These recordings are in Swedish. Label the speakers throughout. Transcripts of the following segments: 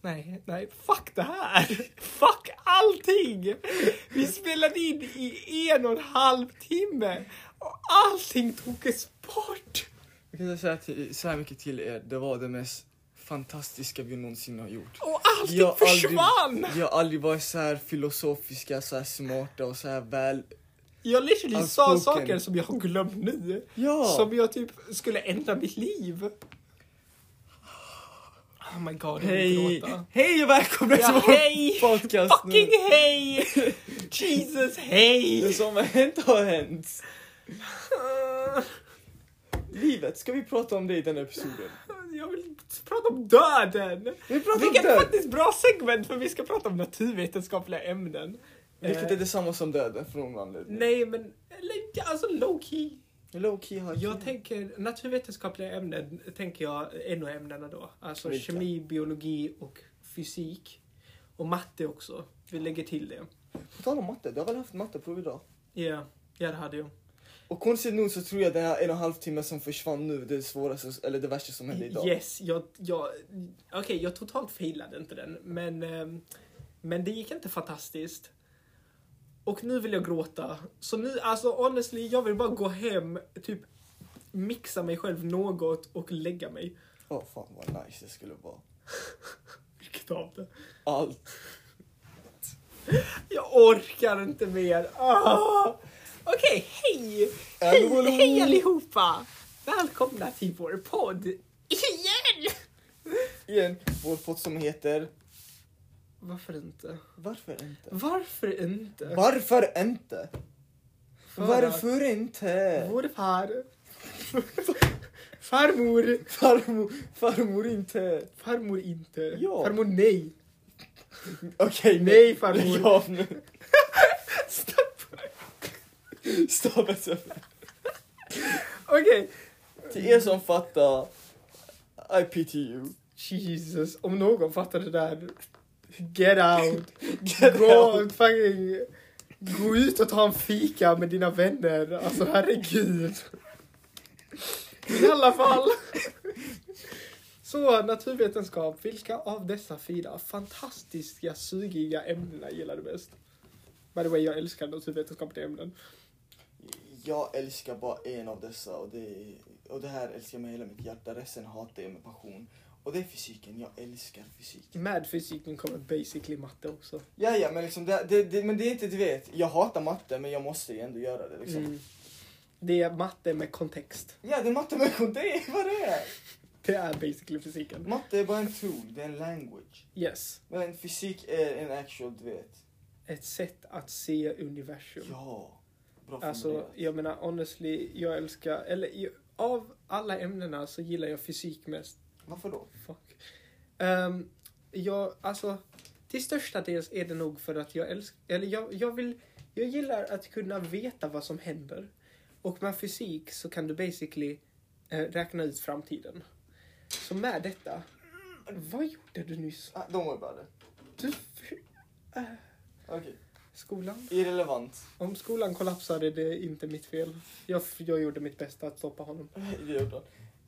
Speaker 1: nej, nej, fuck det här! Fuck allting! Vi spelade in i en och en halv timme och allting togs bort!
Speaker 2: Jag kan säga till, så här mycket till er, det var det mest fantastiska vi någonsin har gjort.
Speaker 1: Och allting försvann!
Speaker 2: Aldrig, jag har aldrig varit så här filosofiska, så här smarta och så här väl...
Speaker 1: Jag literally sa
Speaker 2: Outspoken.
Speaker 1: saker som jag har glömt nu.
Speaker 2: Ja!
Speaker 1: Som jag typ skulle ändra mitt liv. Oh my god, jag vill
Speaker 2: hej! Alltså.
Speaker 1: gråta.
Speaker 2: Hej och välkomna
Speaker 1: Ja,
Speaker 2: till
Speaker 1: hej!
Speaker 2: vår podcast!
Speaker 1: Fucking hej! Jesus,
Speaker 2: Det
Speaker 1: hej!
Speaker 2: som har hänt har hänt. Livet, ska vi prata om det i den här episoden?
Speaker 1: Jag vill prata om döden!
Speaker 2: Vi pratar om
Speaker 1: Vilket
Speaker 2: död.
Speaker 1: faktiskt bra segment för vi ska prata om naturvetenskapliga ämnen.
Speaker 2: Vilket
Speaker 1: Eh,
Speaker 2: är detsamma som döden för någon anledning.
Speaker 1: Nej men, eller, ja, alltså low key.
Speaker 2: Low key har
Speaker 1: Jag tänker naturvetenskapliga ämnen, tänker jag NO-ämnena då. Alltså
Speaker 2: Vilka?
Speaker 1: kemi, biologi och fysik. Och matte också. Vi lägger till det.
Speaker 2: På tal om matte, du har väl haft matteprov idag?
Speaker 1: Ja, ja det hade jag.
Speaker 2: Och konstigt nog så tror jag den här en och en halv timmen som försvann nu, det är svåraste, eller det värsta som hände idag.
Speaker 1: Yes, jag, jag, okej jag totalt failade inte den. Men, ehm, men det gick inte fantastiskt. Och nu vill jag gråta. Så nu, alltså honestly, jag vill bara gå hem, typ mixa mig själv något och lägga mig.
Speaker 2: Åh fan vad nice det skulle vara.
Speaker 1: Vilket av det?
Speaker 2: Allt.
Speaker 1: Jag orkar inte mer. Ah! Okej, hej!
Speaker 2: Hallå,
Speaker 1: Hej,
Speaker 2: hallå.
Speaker 1: hej allihopa! Välkomna till vår podd igen!
Speaker 2: Igen, vår podd som heter
Speaker 1: Varför inte?
Speaker 2: Varför inte?
Speaker 1: Varför inte?
Speaker 2: Varför inte?
Speaker 1: För att
Speaker 2: Varför inte?
Speaker 1: Vår far... Farmor!
Speaker 2: Farmor, farmor inte.
Speaker 1: Farmor inte.
Speaker 2: Ja.
Speaker 1: Farmor nej.
Speaker 2: Okej,
Speaker 1: Nej, farmor.
Speaker 2: Lägg av nu.
Speaker 1: Stopp!
Speaker 2: Stopp ett sekund.
Speaker 1: Okej.
Speaker 2: Till er som fattar, IPTU.
Speaker 1: Jesus, om någon fattar det där. Get out!
Speaker 2: Get
Speaker 1: Gå
Speaker 2: out.
Speaker 1: och fucking... Gå ut och ta en fika med dina vänner. Alltså herregud. I alla fall. Så naturvetenskap, vilka av dessa fyra fantastiska sugiga ämnena gillar du bäst? By the way, jag älskar naturvetenskapliga ämnen.
Speaker 2: Jag älskar bara en av dessa och det, och det här älskar jag med hela mitt hjärta. Resten hatar jag med passion. Och det är fysiken. Jag älskar fysiken.
Speaker 1: Med fysiken kommer basically matte också.
Speaker 2: Ja, ja, men liksom det, det, det, men det är inte, du vet, jag hatar matte men jag måste ju ändå göra det liksom.
Speaker 1: Mm. Det är matte med kontext.
Speaker 2: Ja, det är matte med det är vad det är.
Speaker 1: Det är basically fysiken.
Speaker 2: Matte är bara en tool, det är en language.
Speaker 1: Yes.
Speaker 2: Men fysik är en actual, du vet.
Speaker 1: Ett sätt att se universum.
Speaker 2: Ja. Bra
Speaker 1: Alltså,
Speaker 2: formulerat.
Speaker 1: jag menar honestly, jag älskar, eller ju- av alla ämnena så gillar jag fysik mest.
Speaker 2: Varför då?
Speaker 1: Fuck. Ehm, jag, alltså, till största dels är det nog för att jag älskar, eller jag, jag vill, jag gillar att kunna veta vad som händer. Och med fysik så kan du basically eh, räkna ut framtiden. Så med detta, vad gjorde du nyss?
Speaker 2: Ah, don't worry about it.
Speaker 1: Du,
Speaker 2: Okej.
Speaker 1: skolan?
Speaker 2: Irrelevant.
Speaker 1: Om skolan kollapsade, det är inte mitt fel. Jag, jag gjorde mitt bästa att stoppa honom.
Speaker 2: Det är bra.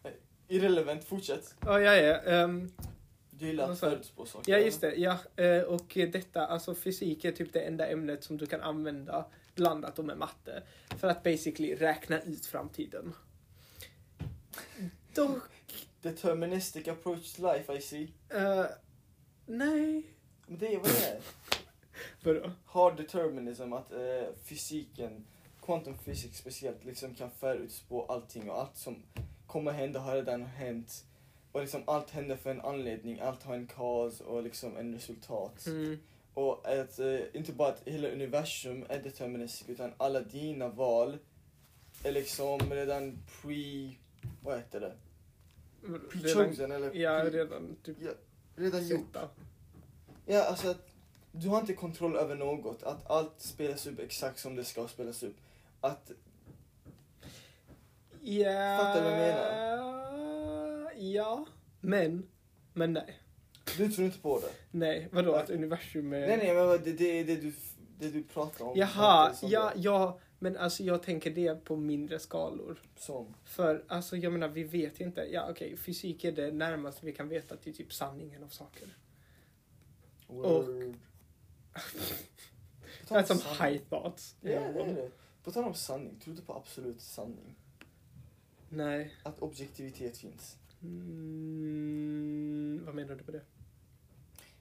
Speaker 2: Eh, Irrelevant, fortsätt.
Speaker 1: Ja, jag är. ehm,
Speaker 2: Du gillar
Speaker 1: Vad
Speaker 2: att
Speaker 1: sa du?
Speaker 2: förutspå saker.
Speaker 1: ja, just det. Ja, eh, och detta, alltså fysik är typ det enda ämnet som du kan använda blandat och med matte för att basically räkna ut framtiden. Dock,
Speaker 2: Deterministic approach to life, I see.
Speaker 1: eh, nej.
Speaker 2: Men det är vad det är.
Speaker 1: Vadå?
Speaker 2: Hard determinism, att eh, fysiken, quantum physics speciellt, liksom kan förutspå allting och allt som kommer hända har redan hänt. Och liksom allt händer för en anledning, allt har en cause och liksom en resultat.
Speaker 1: Mm.
Speaker 2: Och att, eh, inte bara att hela universum är deterministiskt utan alla dina val är liksom redan pre... Vad heter det?
Speaker 1: Redan,
Speaker 2: Pre-chosen eller?
Speaker 1: ja,
Speaker 2: pre-
Speaker 1: redan typ
Speaker 2: Ja, redan gjort.
Speaker 1: sota.
Speaker 2: Ja, alltså att du har inte kontroll över något. Att allt spelas upp exakt som det ska spelas upp. Att,
Speaker 1: Ja.
Speaker 2: Fattar du vad jag
Speaker 1: Ja, men, men nej.
Speaker 2: du tror inte på det.
Speaker 1: Nej, vadå att universum är...
Speaker 2: Nej, nej, men vad- det, det är det du, det du pratar om.
Speaker 1: Jaha,
Speaker 2: verkar som
Speaker 1: ja,
Speaker 2: det.
Speaker 1: ja, men alltså jag tänker det på mindre skalor.
Speaker 2: Som.
Speaker 1: För alltså jag menar, vi vet inte. Ja okej, fysik är det närmaste vi kan veta till typ sanningen av saker. Och-
Speaker 2: Word. På tal om
Speaker 1: That's some
Speaker 2: sanning.
Speaker 1: Alltså, high thoughts.
Speaker 2: Ja, det är det. På tal om sanning, tror du på absolut sanning?
Speaker 1: Nej.
Speaker 2: Att objektivitet finns?
Speaker 1: Mm, vad menar du med det?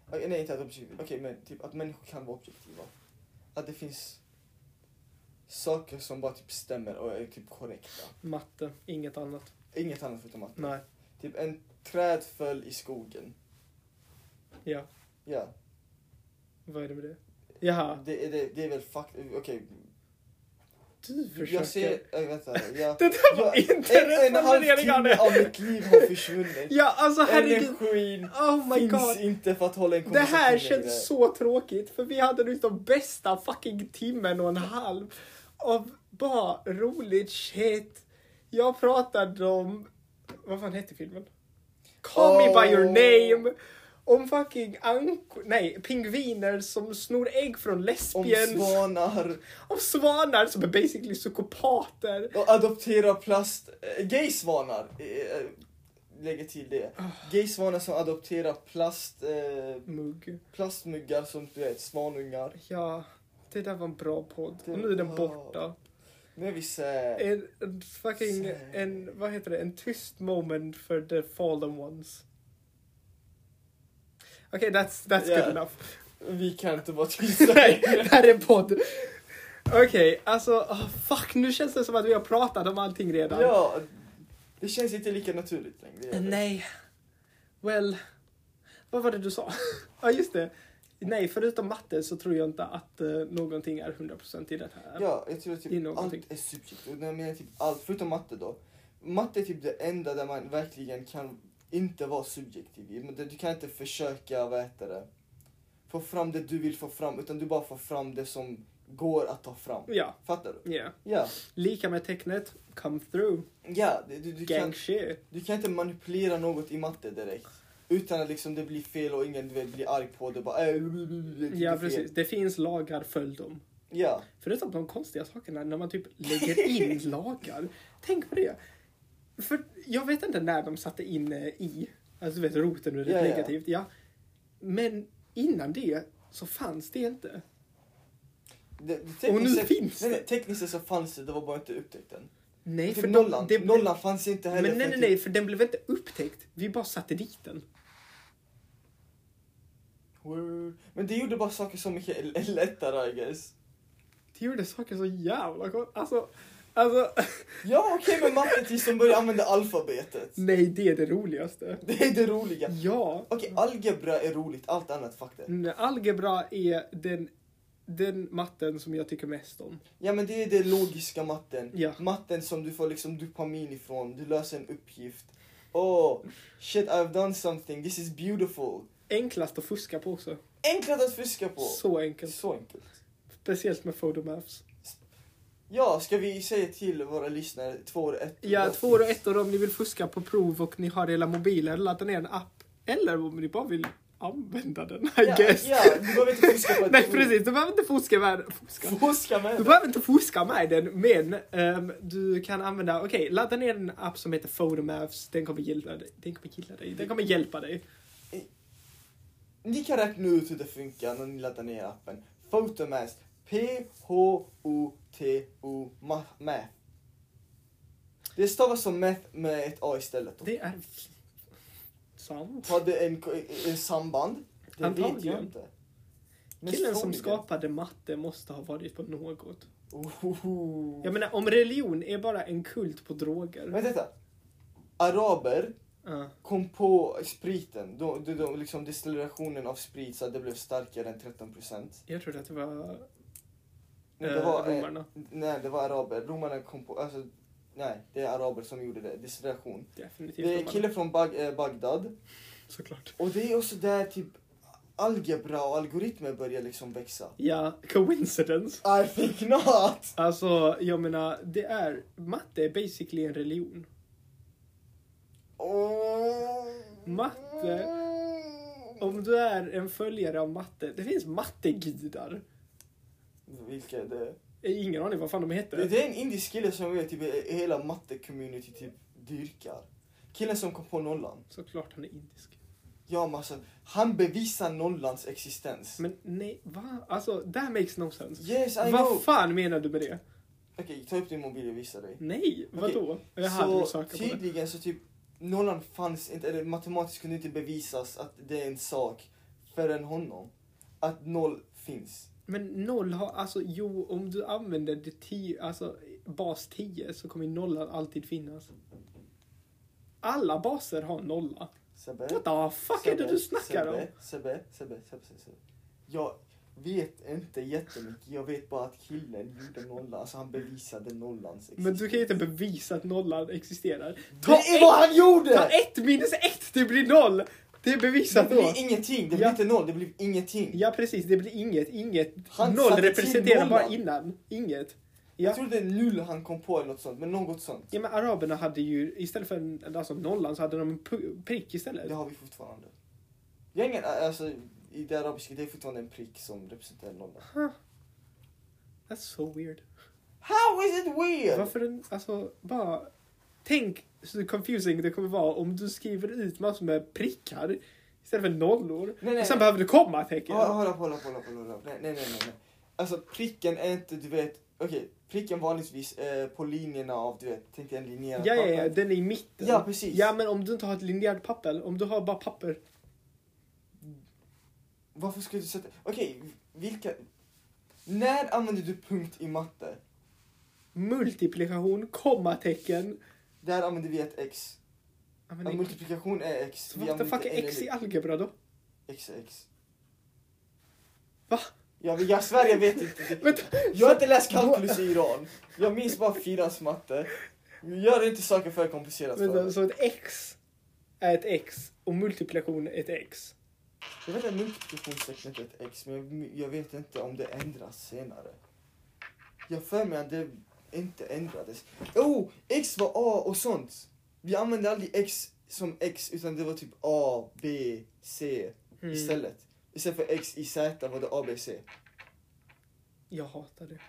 Speaker 2: Okej, nej, inte att objektivitet. Okej, men typ att människor kan vara objektiva. Att det finns saker som bara typ stämmer och är typ korrekta.
Speaker 1: Matte, inget annat.
Speaker 2: Inget annat förutom att
Speaker 1: Nej.
Speaker 2: typ en träd föll i skogen.
Speaker 1: Ja,
Speaker 2: Ja,
Speaker 1: vad är det med det? Jaha,
Speaker 2: det, är- det, det är väl fakt... Okej,
Speaker 1: du försöker.
Speaker 2: jag ser... Äh, vänta, jag...
Speaker 1: Det där var
Speaker 2: jag,
Speaker 1: inte rätt
Speaker 2: en, en halv
Speaker 1: formulering av
Speaker 2: timme
Speaker 1: det.
Speaker 2: av mitt liv har försvunnit.
Speaker 1: Ja, alltså herregud.
Speaker 2: Energin
Speaker 1: Oh my
Speaker 2: finns
Speaker 1: god.
Speaker 2: inte för att hålla en
Speaker 1: Det här
Speaker 2: längre.
Speaker 1: känns så tråkigt för vi hade nu de bästa fucking timmen och en halv av bara roligt shit. Jag pratade om, vad fan hette filmen? Call me by your
Speaker 2: Oh.
Speaker 1: name. Om fucking anko, nej, pingviner som snor ägg från
Speaker 2: Om
Speaker 1: lesbians. Om,
Speaker 2: svanar
Speaker 1: svanar som är basically psykopater.
Speaker 2: och adoptera plast... Äh, gaysvanar! eh, eh, lägger till det.
Speaker 1: Ah.
Speaker 2: Gaysvanar som adopterar plast... eh,
Speaker 1: Mugg.
Speaker 2: plastmuggar som du vet, svanungar.
Speaker 1: Ja, det där var en bra podd.
Speaker 2: Det
Speaker 1: Och nu är den
Speaker 2: var-
Speaker 1: borta.
Speaker 2: Nu är vi sä...
Speaker 1: En, en fucking,
Speaker 2: Sad.
Speaker 1: en, vad heter det, en tyst moment för the fallen ones. Okej, okay, that's, that's
Speaker 2: Ja.
Speaker 1: good enough.
Speaker 2: Vi kan inte vara tysta
Speaker 1: Nej,
Speaker 2: längre.
Speaker 1: det här är en podd. Okej, alltså, ah, fuck, nu känns det som att vi har pratat om allting redan.
Speaker 2: Ja, det känns inte lika naturligt längre. det gör det.
Speaker 1: Nej. Well, vad var det du sa? ja, just det. Nej, förutom matte så tror jag inte att uh, någonting är 100% i det här.
Speaker 2: Ja, jag tror att
Speaker 1: Det är
Speaker 2: typ
Speaker 1: någonting.
Speaker 2: allt är subjektivt. Och när jag menar typ allt, förutom matte då. Matte är typ det enda där man verkligen kan inte vara subjektiv. i. Men det- Du kan inte försöka, vad heter det, få fram det du vill få fram. Utan du bara får fram det som går att ta fram.
Speaker 1: Ja.
Speaker 2: Fattar du?
Speaker 1: ja.
Speaker 2: Ja.
Speaker 1: Lika med tecknet, come through,
Speaker 2: Ja, det- du, du,
Speaker 1: gang
Speaker 2: kan,
Speaker 1: shit.
Speaker 2: du kan inte manipulera något i matte direkt. Utan att liksom det blir fel och ingen du vet, blir arg på det. Bara, äh, det är
Speaker 1: Ja,
Speaker 2: fel.
Speaker 1: precis. Det finns lagar, följ dem.
Speaker 2: Ja.
Speaker 1: Förutom de konstiga sakerna när man typ lägger in lagar. Tänk på det. För jag vet inte när de satte in eh, i, alltså du vet roten och det
Speaker 2: Ja, ja.
Speaker 1: negativt, ja. Men innan det så fanns det inte.
Speaker 2: Det, det
Speaker 1: Och nu
Speaker 2: tekniskt sett-
Speaker 1: finns
Speaker 2: nej,
Speaker 1: det.
Speaker 2: nej, Tekniskt sett så fanns det, det var bara inte upptäckt än.
Speaker 1: Nej,
Speaker 2: Typ
Speaker 1: för
Speaker 2: nollan.
Speaker 1: De, det,
Speaker 2: nollan fanns inte
Speaker 1: Men
Speaker 2: heller.
Speaker 1: nej,
Speaker 2: för
Speaker 1: nej,
Speaker 2: typ-
Speaker 1: nej, för den blev inte upptäckt. Vi bara satte dit den.
Speaker 2: Word. Men det gjorde bara saker så mycket l- lättare I guess.
Speaker 1: Det gjorde saker så jävla kon- Alltså, alltså.
Speaker 2: Ja okej men matte tills de började använda alfabetet.
Speaker 1: Nej, det är det roligaste.
Speaker 2: Det är det roliga.
Speaker 1: Ja.
Speaker 2: Okej algebra är roligt, allt annat fuck det.
Speaker 1: Mm, Algebra är den, den matten som jag tycker mest om.
Speaker 2: Ja men det är det logiska matten.
Speaker 1: Ja.
Speaker 2: Matten som du får liksom dopamin ifrån, du löser en uppgift. Oh shit I've done something, this is beautiful.
Speaker 1: Enklast att fuska på också.
Speaker 2: Enkelt att fuska på.
Speaker 1: Så enkelt.
Speaker 2: Så enkelt.
Speaker 1: Speciellt med photomaths.
Speaker 2: Ja, ska vi säga till våra lyssnare, två och ett.
Speaker 1: Ja, två och ettor om ni vill fuska på prov och ni har hela mobilen, ladda ner en app. Eller om ni bara vill använda den, I
Speaker 2: Ja,
Speaker 1: guess.
Speaker 2: ja, du behöver inte fuska på ett
Speaker 1: Nej,
Speaker 2: prov.
Speaker 1: precis. Du behöver inte fuska med, fuska.
Speaker 2: Fuska med
Speaker 1: Du
Speaker 2: det.
Speaker 1: behöver inte fuska med den, men ehm, du kan använda, okej, ladda ner en app som heter Photomaths. Den kommer gilla dig. Den kommer gilla dig. Den kommer hjälpa dig.
Speaker 2: Ni kan räkna ut hur det funkar när ni laddar ner appen. Photomask. P-H-O-T-O ma- Math. Det stavas som math med ett A istället. Då.
Speaker 1: Det är sant.
Speaker 2: Har det en, en samband? Det vet jag
Speaker 1: Antagligen.
Speaker 2: inte. Men
Speaker 1: Killen som
Speaker 2: troligen.
Speaker 1: skapade matte måste ha varit på något.
Speaker 2: Ohoho.
Speaker 1: Jag menar, om religion är bara en kult på droger.
Speaker 2: Men detta. Araber
Speaker 1: Ja.
Speaker 2: kom på spriten, de, de, de, liksom destillationen av sprit så att det blev starkare än 13 procent.
Speaker 1: jag trodde att det var,
Speaker 2: Det
Speaker 1: eh,
Speaker 2: var, eh,
Speaker 1: romarna.
Speaker 2: nej, det var araber. Romarna kom på, alltså, nej, det är araber som gjorde det. Destillation.
Speaker 1: Definitivt
Speaker 2: Det är en
Speaker 1: romarna.
Speaker 2: kille från Bag eh, Bagdad
Speaker 1: Såklart.
Speaker 2: och det är också där typ algebra och algoritmer börjar liksom växa.
Speaker 1: Ja, coincidence.
Speaker 2: I think not!
Speaker 1: Alltså, jag menar, det är... Matte är basically en religion.
Speaker 2: Oh.
Speaker 1: Matte.
Speaker 2: Mm.
Speaker 1: Om du är en följare av matte... Det finns mattegudar.
Speaker 2: Vilka är det?
Speaker 1: Jag har Ingen aning vad fan de
Speaker 2: det?
Speaker 1: heter.
Speaker 2: Det är en indisk kille som är typ eh, hela matte-community typ dyrkar. Killen som kom på nollan.
Speaker 1: Såklart han är indisk.
Speaker 2: Ja, men alltså, han bevisar nollans existens.
Speaker 1: Men nej, va? Alltså, that makes no sense.
Speaker 2: Yes, I know!
Speaker 1: Vad fan menar du med det?
Speaker 2: Okej, ta upp din mobil och visa dig.
Speaker 1: Nej, vadå? Jag hade velat
Speaker 2: Så
Speaker 1: söka på det.
Speaker 2: tydligen så typ nollan fanns inte, eller matematiskt kunde inte bevisas att det är en sak förrän honom. Att noll finns.
Speaker 1: Men noll har, alltså jo, om du använder det tio, alltså bas 10 så kommer nollan alltid finnas. Alla baser har nolla.
Speaker 2: Sebbe?
Speaker 1: What the fuck är det du snackar om?
Speaker 2: Sebbe, Sebbe, Sebbe, Sebbe, Sebbe, Sebbe. Jag vet inte jättemycket. Jag vet bara att killen gjorde nollan. Alltså han bevisade nollans existens.
Speaker 1: Men du kan ju inte bevisa att nollan existerar.
Speaker 2: Det är vad han gjorde!
Speaker 1: Ta ett minus ett, det blir noll! Det är
Speaker 2: Det
Speaker 1: bevisat då.
Speaker 2: blev ingenting. Det blev
Speaker 1: Ja.
Speaker 2: inte noll. Det blev ingenting.
Speaker 1: Ja precis, det blir inget, inget.
Speaker 2: Han
Speaker 1: noll
Speaker 2: satte till
Speaker 1: representerar bara
Speaker 2: nollan.
Speaker 1: innan, inget.
Speaker 2: Jag
Speaker 1: Ja.
Speaker 2: trodde det är null han kom på eller något sånt. Men något sånt.
Speaker 1: ja men araberna hade ju, istället för en, alltså nollan så hade de en pu- prick istället.
Speaker 2: Det har vi fortfarande. Jag har ingen, alltså, I det arabiska det är fortfarande en prick som representerar nollan.
Speaker 1: That's so weird.
Speaker 2: How is it weird?
Speaker 1: Varför en, alltså bara, tänk så confusing det kommer vara om du skriver ut massor med prickar istället för nollor.
Speaker 2: Nej, nej.
Speaker 1: Och sen behöver du kommatecken.
Speaker 2: Ja, Hålla på, hålla på, hålla på, hålla på. Nej, nej, nej, nej, nej. Alltså pricken är inte, du vet, okej, pricken vanligtvis eh, på linjerna av, du vet, tänk dig en linjerad
Speaker 1: Ja, ja,
Speaker 2: papper.
Speaker 1: ja, den är i mitten.
Speaker 2: Ja, precis.
Speaker 1: Ja, men om du inte har ett linjärt papper, om du har bara papper.
Speaker 2: Varför skulle du sätta, okej, vilka, när använder du punkt i matte?
Speaker 1: Multiplikation, kommatecken.
Speaker 2: Där använder vi ett x.
Speaker 1: Ja,
Speaker 2: Men
Speaker 1: men det-
Speaker 2: multiplikation är x.
Speaker 1: Så What the fuck är
Speaker 2: inte
Speaker 1: x
Speaker 2: en
Speaker 1: i algebra då?
Speaker 2: X är x.
Speaker 1: Va?
Speaker 2: Ja, men jag svär, jag vet inte.
Speaker 1: Vänta,
Speaker 2: Jag har inte läst kalkylus i Iran. Jag minns bara fyrans matte. Gör inte saker för komplicerat för
Speaker 1: vänta,
Speaker 2: mig.
Speaker 1: så ett x är ett x och multiplikation är ett x.
Speaker 2: Jag vet att multiplikationstecknet är ett x, men jag, jag vet inte om det ändras senare. Jag för mig att det inte ändrades. Oh, x var a och sånt. Vi använde aldrig x som x, utan det var typ a, b, c
Speaker 1: Mm.
Speaker 2: istället. Istället för x i z var det a, b, c.
Speaker 1: Jag hatar det.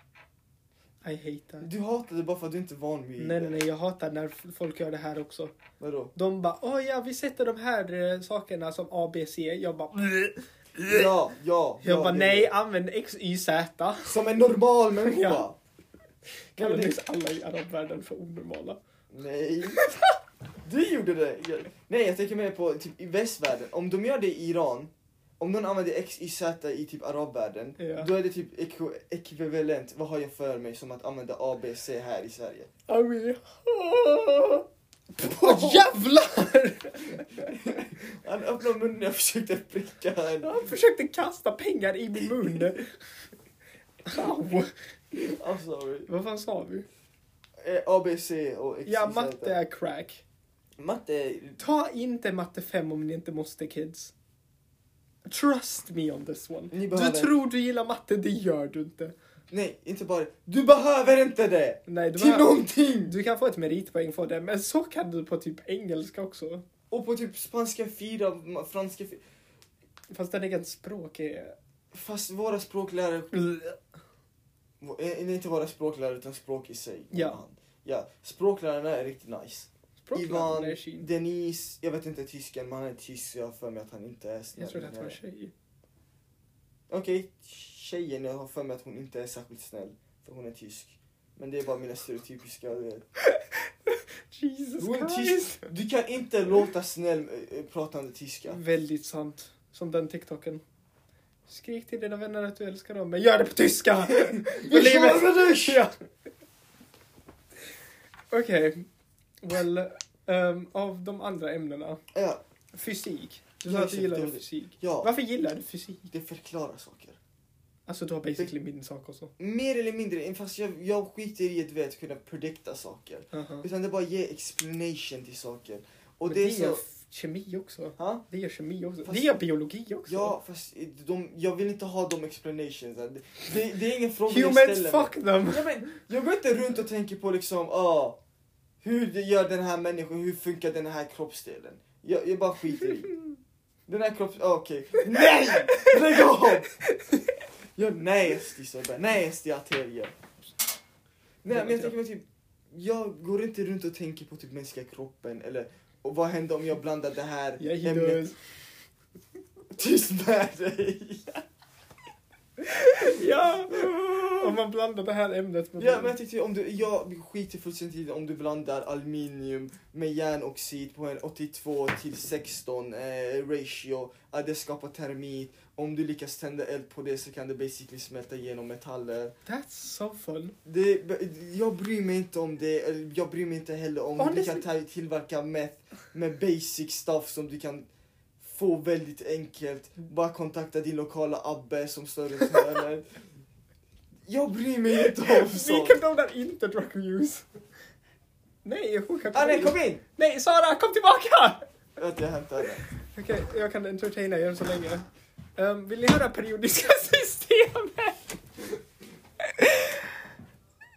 Speaker 1: I hate that.
Speaker 2: Du hatade bara för att du inte är van vid
Speaker 1: Nej,
Speaker 2: det.
Speaker 1: nej, nej, jag hatar när f- folk gör det här också.
Speaker 2: Vadå?
Speaker 1: De bara, åh ja, vi sätter de här eh, sakerna som A, B, C. Jag bara, jag
Speaker 2: Ja, ja. Mm. ja,
Speaker 1: bara,
Speaker 2: det-
Speaker 1: nej, använd X, Y, Z.
Speaker 2: Som en normal människa.
Speaker 1: Ja. Kallar
Speaker 2: det-
Speaker 1: nyss alla i arabvärlden för onormala.
Speaker 2: Nej. Du gjorde det. Jag- Nej, jag tänker mer på typ i västvärlden. Om de gör det i Iran, om någon använder x, y, z i typ arabvärlden,
Speaker 1: Ja.
Speaker 2: då är det typ eko- ekvivalent, vad har jag för mig, som att använda a, b, c här i Sverige.
Speaker 1: I mean, Åh jävlar!
Speaker 2: Han öppnade munnen och jag försökte pricka en.
Speaker 1: Han försökte kasta pengar i min mun. Au.
Speaker 2: I'm sorry.
Speaker 1: Vad fan sa vi?
Speaker 2: Eh, A, B, C och x,
Speaker 1: Ja,
Speaker 2: y, z.
Speaker 1: matte är crack.
Speaker 2: Matte är...
Speaker 1: Ta inte matte 5 om ni inte måste kids. Trust me on this one.
Speaker 2: Ni
Speaker 1: Du
Speaker 2: behöver-
Speaker 1: tror du gillar matte, det gör du inte.
Speaker 2: Nej, inte bara Du behöver inte det!
Speaker 1: Nej, det
Speaker 2: Till
Speaker 1: var...
Speaker 2: någonting!
Speaker 1: Du kan få ett meritpoäng för det, men så kan du på typ engelska också.
Speaker 2: Och på typ spanska 4, franska 4.
Speaker 1: Fast den eget språk är...
Speaker 2: Fast våra språklärare Vå- eh, Nej, inte våra språklärare utan språk i sig.
Speaker 1: Ja.
Speaker 2: ja. Språklärarna är riktigt nice.
Speaker 1: Språkläraren är tjej.
Speaker 2: Denise, jag vet inte tysken, men han är tysk så jag har för mig att han inte är snäll.
Speaker 1: Jag trodde att det var
Speaker 2: Nej.
Speaker 1: tjej.
Speaker 2: Okej, tjejen, jag har för mig att hon inte är särskilt snäll. För hon är tysk. Men det är bara mina stereotypiska... du vet.
Speaker 1: Jesus
Speaker 2: Hon är
Speaker 1: Christ. Mm.
Speaker 2: tysk. Du kan inte låta snäll eh, eh, pratande tyska.
Speaker 1: Väldigt sant. Som den TikToken. Skrik till dina vänner att du älskar dem, men gör det på tyska! För livet! Ja. Okej. Well, ehm, av de andra ämnena.
Speaker 2: Ja,
Speaker 1: Fysik. Du
Speaker 2: Jag
Speaker 1: sa att du
Speaker 2: köpte
Speaker 1: gillade
Speaker 2: det.
Speaker 1: fysik.
Speaker 2: ja,
Speaker 1: Varför gillar du fysik?
Speaker 2: det förklarar saker.
Speaker 1: Alltså du har basically min sak också.
Speaker 2: Mer eller mindre, fast jag, jag skiter i att du vet, kunna predikta saker.
Speaker 1: Uh-huh.
Speaker 2: Utan det bara ger explanation till saker. Och
Speaker 1: Och
Speaker 2: det är
Speaker 1: gör
Speaker 2: så...
Speaker 1: f- kemi också.
Speaker 2: Ha?
Speaker 1: Det gör kemi också.
Speaker 2: Fast-
Speaker 1: Det gör biologi också.
Speaker 2: Ja, fast de, jag vill inte ha de explanations. Det, det, det är ingen fråga jag
Speaker 1: Humans
Speaker 2: ställer
Speaker 1: fuck them!
Speaker 2: mig. Ja, men, jag går inte runt och tänker på liksom, ah, hur det gör den här människan, hur funkar den här kroppsdelen? Jag, jag bara skiter i. Den här kropps... ah, Okej. Nej! Lägg av! Jag nasty Sebbe, nasty arterier. Nej men jag tänker mig typ, jag går inte runt och tänker på typ mänskliga kroppen eller och vad händer om jag blandar det här
Speaker 1: Jag
Speaker 2: ämnet
Speaker 1: är
Speaker 2: Tyst med dig!
Speaker 1: Ja! Om man blandar det här ämnet med
Speaker 2: Ja, men jag tänkte om du, jag skiter fullständigt i det om du blandar aluminium med järnoxid på en 82 till 16 eh, ratio. Ja, det skapar termit. Om du lyckas tända eld på det så kan det basically smälta igenom metaller.
Speaker 1: That's so fun.
Speaker 2: Det, jag bryr mig inte om det. eller Jag bryr mig inte heller om du
Speaker 1: Honestly-
Speaker 2: kan ta- tillverka meth med basic stuff som du kan få väldigt enkelt. Bara kontakta din lokala Abbe som står runt hörnet. Jag bryr mig inte om
Speaker 1: Vi
Speaker 2: sånt.
Speaker 1: condonar inte drug use. Nej, hon kan
Speaker 2: Ah, nej, kom in!
Speaker 1: Nej, Sara, kom tillbaka!
Speaker 2: Vänta, jag hämtar den.
Speaker 1: Okej, jag kan entertaina er så länge. Ehm, vill ni höra periodiska systemet?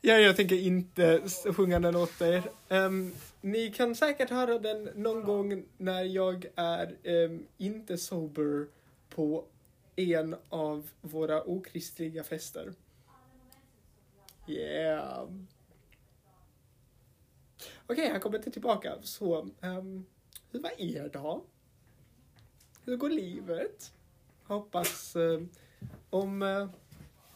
Speaker 1: ja, jag tänker inte s- sjunga den åt er. Ehm, ni kan säkert höra den någon gång när jag är ehm, inte sober på en av våra okristliga fester. Yeah. Okej, här kommer det tillbaka. Så, ehm, hur var er dag? Hur går livet? Hoppas eh, om, eh,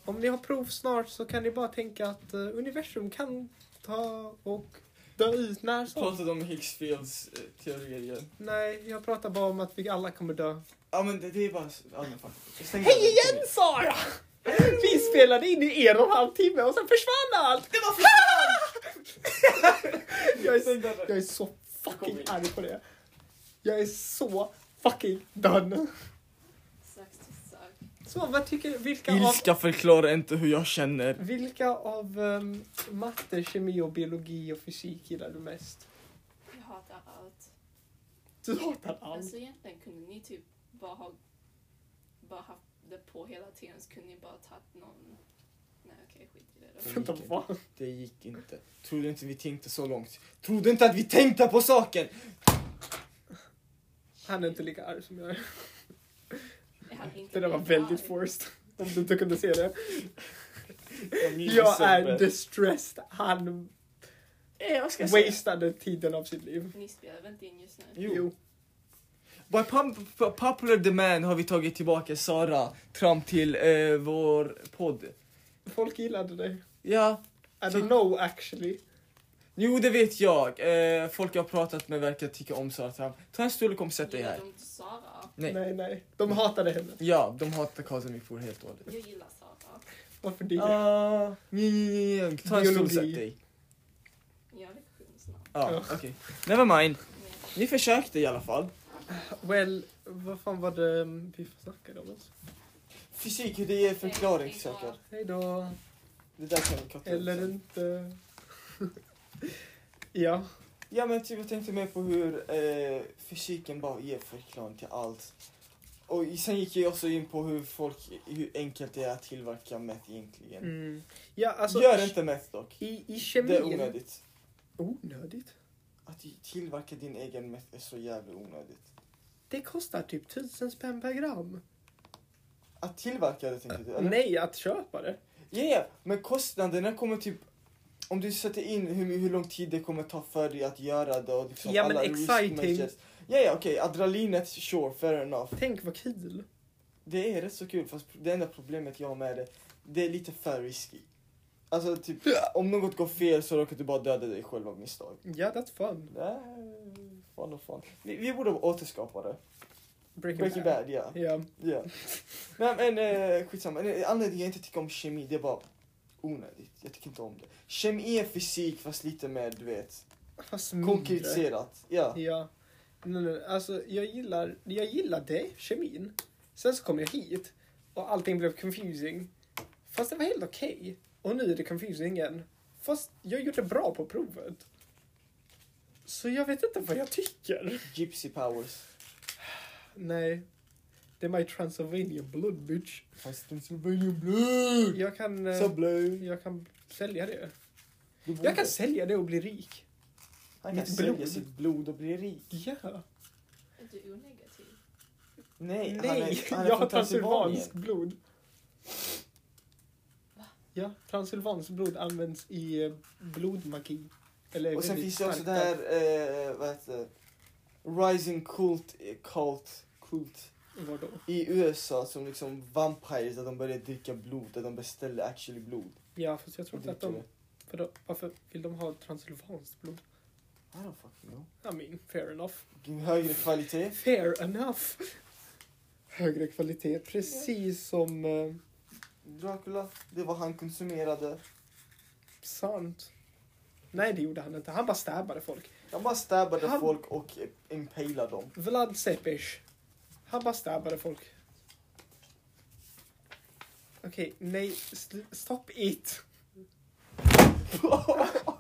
Speaker 1: om ni har prov snart så kan ni bara tänka att eh, universum kan ta och dö ut när som.
Speaker 2: Pratade om Higgsfields eh, teorier igen.
Speaker 1: Nej, jag pratar bara om att vi alla kommer dö.
Speaker 2: Ja men det, det är bara allmän fan. Stäng
Speaker 1: Hej
Speaker 2: dörren, kom
Speaker 1: igen Sara! Vi spelade in i en och en halv timme och sen försvann allt! Det var jag,
Speaker 2: Stäng
Speaker 1: är,
Speaker 2: dörren.
Speaker 1: jag är så fucking arg på det. Jag är så fucking done.
Speaker 3: Sucks to suck.
Speaker 1: Så vad tycker, vilka
Speaker 2: in.
Speaker 1: av
Speaker 2: Ilska förklarar inte hur jag känner.
Speaker 1: Vilka av ehm, matte, kemi och biologi och fysik gillar du mest?
Speaker 3: Jag hatar allt.
Speaker 1: Du hatar allt.
Speaker 3: Alltså egentligen kunde ni typ bara ha bara haft det på hela tiden så kunde ni bara tagit någon... Nej okej, skit i det då.
Speaker 1: Vänta, vad?
Speaker 2: Det gick inte. Trodde inte vi tänkte så långt. Trodde inte att vi tänkte på saken!
Speaker 1: Han är inte lika arg som jag är.
Speaker 3: Jag hade
Speaker 1: Det
Speaker 3: inte
Speaker 1: där var
Speaker 3: blivit
Speaker 1: väldigt
Speaker 3: arg.
Speaker 1: forced. Om du inte kunde se det.
Speaker 2: Jag, minns
Speaker 1: Jag
Speaker 2: så
Speaker 1: är
Speaker 2: väl.
Speaker 1: distressed. Han
Speaker 2: Eh, vad ska jag säga?
Speaker 1: wastade tiden av sitt liv.
Speaker 3: Ni spelar väl inte in just nu?
Speaker 2: Jo. By pump, p- popular demand har vi tagit tillbaka Sara fram till eh, vår podd.
Speaker 1: Folk gillade dig.
Speaker 2: Ja,
Speaker 1: I don't know actually.
Speaker 2: jo det vet jag. Eh, folk jag har pratat med verkar tycka om Sara Tram. Ta en stol och kom och sätt dig
Speaker 3: Gillar
Speaker 2: här.
Speaker 3: de inte Sara?
Speaker 1: Nej,
Speaker 2: Nej.
Speaker 1: nej. De hatade henne.
Speaker 2: Ja, de hatar Kazemi Four helt och hållet.
Speaker 3: Jag gillar Sara.
Speaker 1: Varför det?
Speaker 2: Ah, nej, nej, nej, nej. Ta en
Speaker 1: Biologi.
Speaker 2: stol sätt dig.
Speaker 3: Jag har lektion snart.
Speaker 2: Ja,
Speaker 1: Ja.
Speaker 2: okej. Never mind.
Speaker 3: Men
Speaker 2: Ni försökte i alla fall.
Speaker 1: Well, vad fan var det mm, vi snackade om? Alltså?
Speaker 2: Fysik, hur det är
Speaker 3: Hej
Speaker 2: förklaringssaker.
Speaker 3: då.
Speaker 1: Hej då.
Speaker 2: Det där kan vi korta upp
Speaker 1: Eller
Speaker 2: sen.
Speaker 1: inte. ja.
Speaker 2: Ja men typ jag tänkte mer på hur eh, fysiken bara ger förklaring till allt. Och sen gick jag också in på hur folk, hur enkelt det är att tillverka meth egentligen.
Speaker 1: Mm. Ja, alltså,
Speaker 2: Gör inte meth dock.
Speaker 1: I, i
Speaker 2: Det är
Speaker 1: kemin...
Speaker 2: onödigt.
Speaker 1: Onödigt?
Speaker 2: Att tillverka din egen meth är så jävla onödigt.
Speaker 1: Det kostar typ tusen spänn per gram.
Speaker 2: Att tillverka det tänkte du? eller?
Speaker 1: Nej, att köpa det.
Speaker 2: Ja, ja, men kostnaderna kommer typ... Om du sätter in hur, hur lång tid det kommer ta för dig att göra det och liksom
Speaker 1: Ja, men
Speaker 2: risk
Speaker 1: exciting.
Speaker 2: measures. Ja, ja, okej. Adrenalinet, sure, fair enough.
Speaker 1: Tänk vad kul.
Speaker 2: Det är rätt så kul, fast det enda problemet jag har med det, det är lite för risky. Alltså, typ, om något går fel så råkar du bara döda dig själv av misstag.
Speaker 1: Ja, that's fun.
Speaker 2: Nej, fan och fan. Vi, vi borde återskapa det.
Speaker 1: Breaking,
Speaker 2: Breaking Bad, ja.
Speaker 1: Ja.
Speaker 2: Ja. Nej men eh, skitsamma. Eh, Anledningen jag inte tycker om kemi, det är bara onödigt. Jag tycker inte om det. Kemi är fysik fast lite mer, du vet,
Speaker 1: Fast mindre.
Speaker 2: konkretiserat. Ja.
Speaker 1: Ja. Nej, nej, alltså, jag gillar, jag gillade kemin. Sen så kom jag hit och allting blev confusing. Fast det var helt okej. Och nu är det confusing igen. Fast jag gjorde bra på provet. Så jag vet inte vad jag tycker.
Speaker 2: Gypsy powers.
Speaker 1: Nej. Det är my Transylvanian blood bitch.
Speaker 2: Fast de som väljer blod.
Speaker 1: Jag kan, eh,
Speaker 2: Så blod.
Speaker 1: jag kan sälja det.
Speaker 2: Du borde.
Speaker 1: Jag kan sälja det och bli rik.
Speaker 2: Han kan
Speaker 1: mitt
Speaker 2: sälja
Speaker 1: blod.
Speaker 2: sitt blod och bli rik.
Speaker 1: Ja.
Speaker 3: Är du onegativ?
Speaker 2: Nej, han
Speaker 1: Nej,
Speaker 2: är, han är
Speaker 1: jag har
Speaker 2: från Transylvanien.
Speaker 1: transylvanskt blod. Ja, transylvanskt blod används i eh, blodmagi. Eller
Speaker 2: Och sen
Speaker 1: väldigt
Speaker 2: finns det också
Speaker 1: starkt
Speaker 2: det här, eh, vad heter det? Rising cult, eh, cult, cult.
Speaker 1: Var då?
Speaker 2: I USA som liksom vampires, där de börjar dricka blod, där de beställer actually blod.
Speaker 1: Ja, fast jag tror
Speaker 2: Och
Speaker 1: inte att
Speaker 2: dricker
Speaker 1: de...
Speaker 2: det.
Speaker 1: Vadå, varför vill de ha transylvanskt blod?
Speaker 2: I don't fucking know.
Speaker 1: I mean, fair enough.
Speaker 2: G- Högre kvalitet.
Speaker 1: Fair enough! Högre kvalitet, precis som... Eh,
Speaker 2: Dracula, det var han konsumerade.
Speaker 1: sant. Nej, det gjorde han inte. Han bara stabbade folk.
Speaker 2: Han bara stabbade
Speaker 1: Han-
Speaker 2: folk och eh, impalade dem.
Speaker 1: Vlad Sepish. Han bara stabbade folk. Okej, nej. Sl- stop it!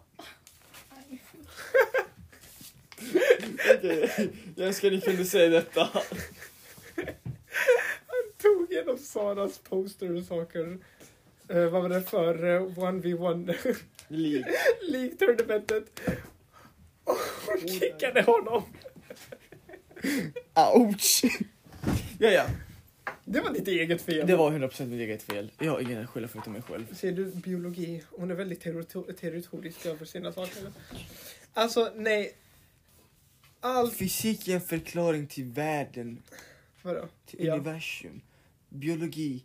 Speaker 2: Okej, jag önskar ni kunde säga detta.
Speaker 1: Tog en av Saras poster och saker. Eh, vad var det för eh, 1v1
Speaker 2: Lig.
Speaker 1: League Tournamentet? Och hon kickade honom.
Speaker 2: Ouch! ja, ja.
Speaker 1: Det var ditt eget fel.
Speaker 2: Det var 100% mitt eget fel. Jag har ingen att skylla förutom mig själv.
Speaker 1: Ser du biologi? Hon är väldigt territo- territorisk över sina saker. Alltså, nej. Allt...
Speaker 2: Fysik är en förklaring till världen,
Speaker 1: Vadå?
Speaker 2: till
Speaker 1: Ja.
Speaker 2: universum. Biologi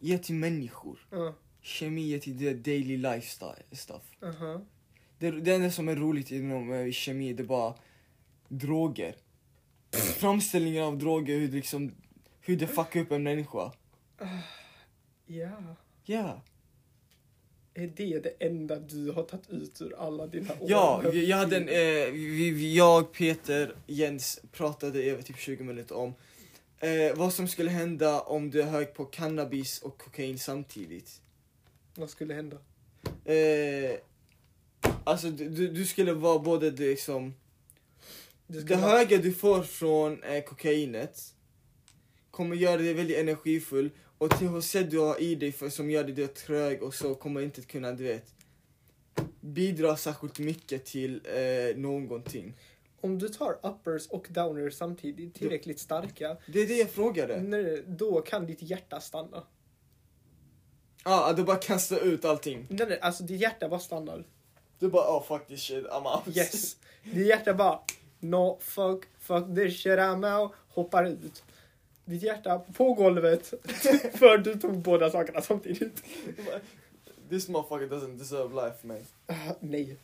Speaker 2: ger till människor.
Speaker 1: Ja,
Speaker 2: Kemi ger till the daily lifestyle stuff.
Speaker 1: aha.
Speaker 2: Det, det enda som är roligt inom eh, kemi det är bara droger. Framställningen av droger, hur, liksom, hur det fuckar upp en människa.
Speaker 1: Ja.
Speaker 2: Ja.
Speaker 1: Är det det enda du har tagit ut ur alla dina år?
Speaker 2: Ja, vi- jag hade en, eh, vi, vi- jag, Peter, Jens pratade i över typ 20 minuter om eh, vad som skulle hända om du hög på cannabis och kokain samtidigt.
Speaker 1: Vad skulle hända?
Speaker 2: Eh, alltså du, du- du skulle vara både det liksom,
Speaker 1: Du
Speaker 2: det
Speaker 1: skulle ha-
Speaker 2: höga du får från eh, kokainet kommer göra dig väldigt energifull och THC du har i dig för, som gör dig du är trög och så kommer inte att kunna, du vet, bidra särskilt mycket till eh, någonting.
Speaker 1: Om du tar uppers och downers samtidigt, tillräckligt starka,
Speaker 2: Det är det jag frågade.
Speaker 1: när- då kan ditt hjärta stanna.
Speaker 2: Ja, ah, du bara kastar ut allting.
Speaker 1: Nej, nej, alltså ditt hjärta bara stannar.
Speaker 2: Du bara, oh fuck this shit, I'm out.
Speaker 1: Yes. Ditt hjärta bara, no fuck, fuck this shit I'm out, hoppar ut. Ditt hjärta på golvet, för du tog båda sakerna samtidigt.
Speaker 2: Du bara, this motherfucker doesn't deserve life man.
Speaker 1: Ah, nej.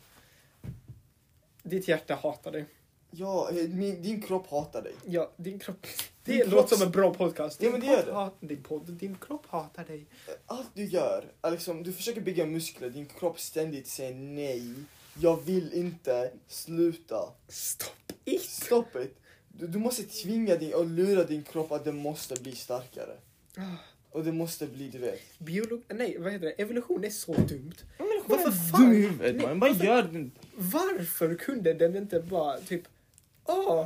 Speaker 1: Ditt hjärta hatar dig.
Speaker 2: Ja, eh, min, din kropp hatar dig.
Speaker 1: Ja, din kropp.
Speaker 2: Din
Speaker 1: Det
Speaker 2: kropp-
Speaker 1: låter som en bra podcast.
Speaker 2: Ja, men det gör
Speaker 1: podd
Speaker 2: det.
Speaker 1: hat- Din podd, din kropp hatar dig.
Speaker 2: Allt du gör, är liksom, du försöker bygga muskler, din kropp ständigt säger nej. Jag vill inte, sluta.
Speaker 1: Stopp it!
Speaker 2: Stop it. Du, du måste tvinga din och lura din kropp att den måste bli starkare.
Speaker 1: Ah.
Speaker 2: Och det måste bli, du vet.
Speaker 1: Biolog... Nej, vad heter det? Evolution är så dumt.
Speaker 2: Varför
Speaker 1: är
Speaker 2: fan?
Speaker 1: dum i huvudet, man. Bara
Speaker 2: gör den.
Speaker 1: Varför kunde den inte bara typ... Åh,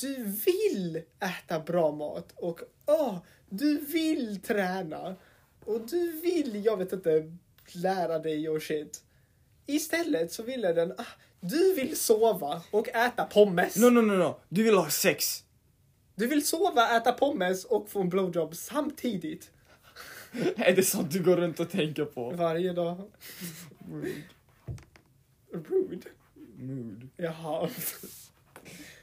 Speaker 1: du vill äta bra mat och åh, du vill träna och du vill, jag vet inte, lära dig och shit. Istället så ville den, ah, du vill sova och äta pommes.
Speaker 2: No, no, no, no. Du vill ha sex.
Speaker 1: Du vill sova, äta pommes och få en blowjob samtidigt.
Speaker 2: Är det sånt du går runt och tänker på?
Speaker 1: Varje dag. Rude.
Speaker 2: Mood.
Speaker 1: Jaha.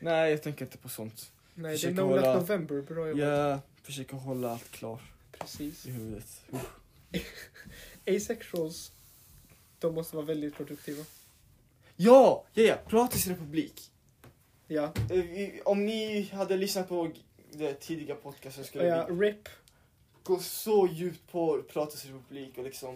Speaker 2: Nej, jag tänker inte på sånt.
Speaker 1: Nej, det är
Speaker 2: Försöker
Speaker 1: No Nut
Speaker 2: hålla-
Speaker 1: November. Bra jobbat.
Speaker 2: Jag försöker hålla allt klart
Speaker 1: Precis.
Speaker 2: i huvudet.
Speaker 1: Asexuals, de måste vara väldigt produktiva.
Speaker 2: Ja, ja, ja. Kroatisk republik.
Speaker 1: Ja,
Speaker 2: Eh, vi- Om ni hade lyssnat på g- det tidiga podcasten skulle
Speaker 1: ja
Speaker 2: vi
Speaker 1: RIP.
Speaker 2: gå så djupt på Kroatisk republik och liksom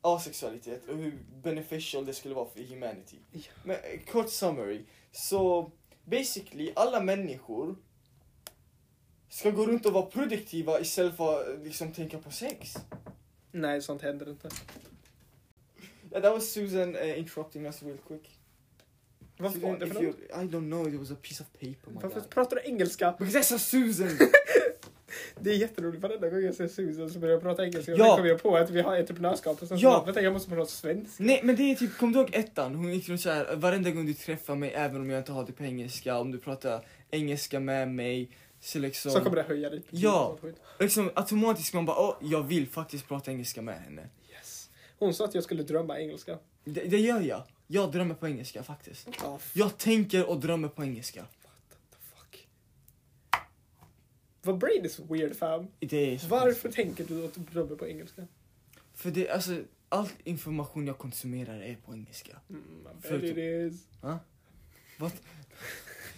Speaker 2: asexualitet och hur beneficial det skulle vara för humanity.
Speaker 1: Ja.
Speaker 2: Men eh, kort summary. Så basically alla människor ska gå runt och vara produktiva istället för att eh, liksom tänka på sex.
Speaker 1: Nej, sånt händer inte.
Speaker 2: Yeah, that was Susan uh, interrupting us real quick.
Speaker 1: Varför
Speaker 2: Susan,
Speaker 1: var det
Speaker 2: if
Speaker 1: för något?
Speaker 2: you- I don't know, it was a piece of paper. Oh My
Speaker 1: Varför
Speaker 2: guy.
Speaker 1: pratar du engelska?
Speaker 2: Because that's a Susan!
Speaker 1: Det är jätteroligt, varenda gång jag ser Susan så börjar jag prata engelska. Och
Speaker 2: Ja.
Speaker 1: sen kommer jag på att vi har entreprenörskap och sen så
Speaker 2: Ja.
Speaker 1: bara, vänta jag måste prata svenska.
Speaker 2: Nej men det är typ, kom du ihåg ettan? Hon gick runt såhär, varenda gång du träffar mig även om jag inte har det på engelska, om du pratar engelska med mig. Så liksom,
Speaker 1: Så kommer det höja dig.
Speaker 2: Ja. liksom automatiskt man bara, åh, jag vill faktiskt prata engelska med henne.
Speaker 1: Yes. Hon sa att jag skulle drömma engelska.
Speaker 2: Det, det gör jag. Jag drömmer på engelska faktiskt.
Speaker 1: Ja,
Speaker 2: Jag tänker och drömmer på engelska.
Speaker 1: fuck. Vad brain is weird fam.
Speaker 2: Det är så
Speaker 1: Varför tänker du att du jobbar på engelska?
Speaker 2: För det, alltså, all information jag konsumerar är på engelska.
Speaker 1: Mm, I bet
Speaker 2: Förutom-
Speaker 1: it is.
Speaker 2: Vad?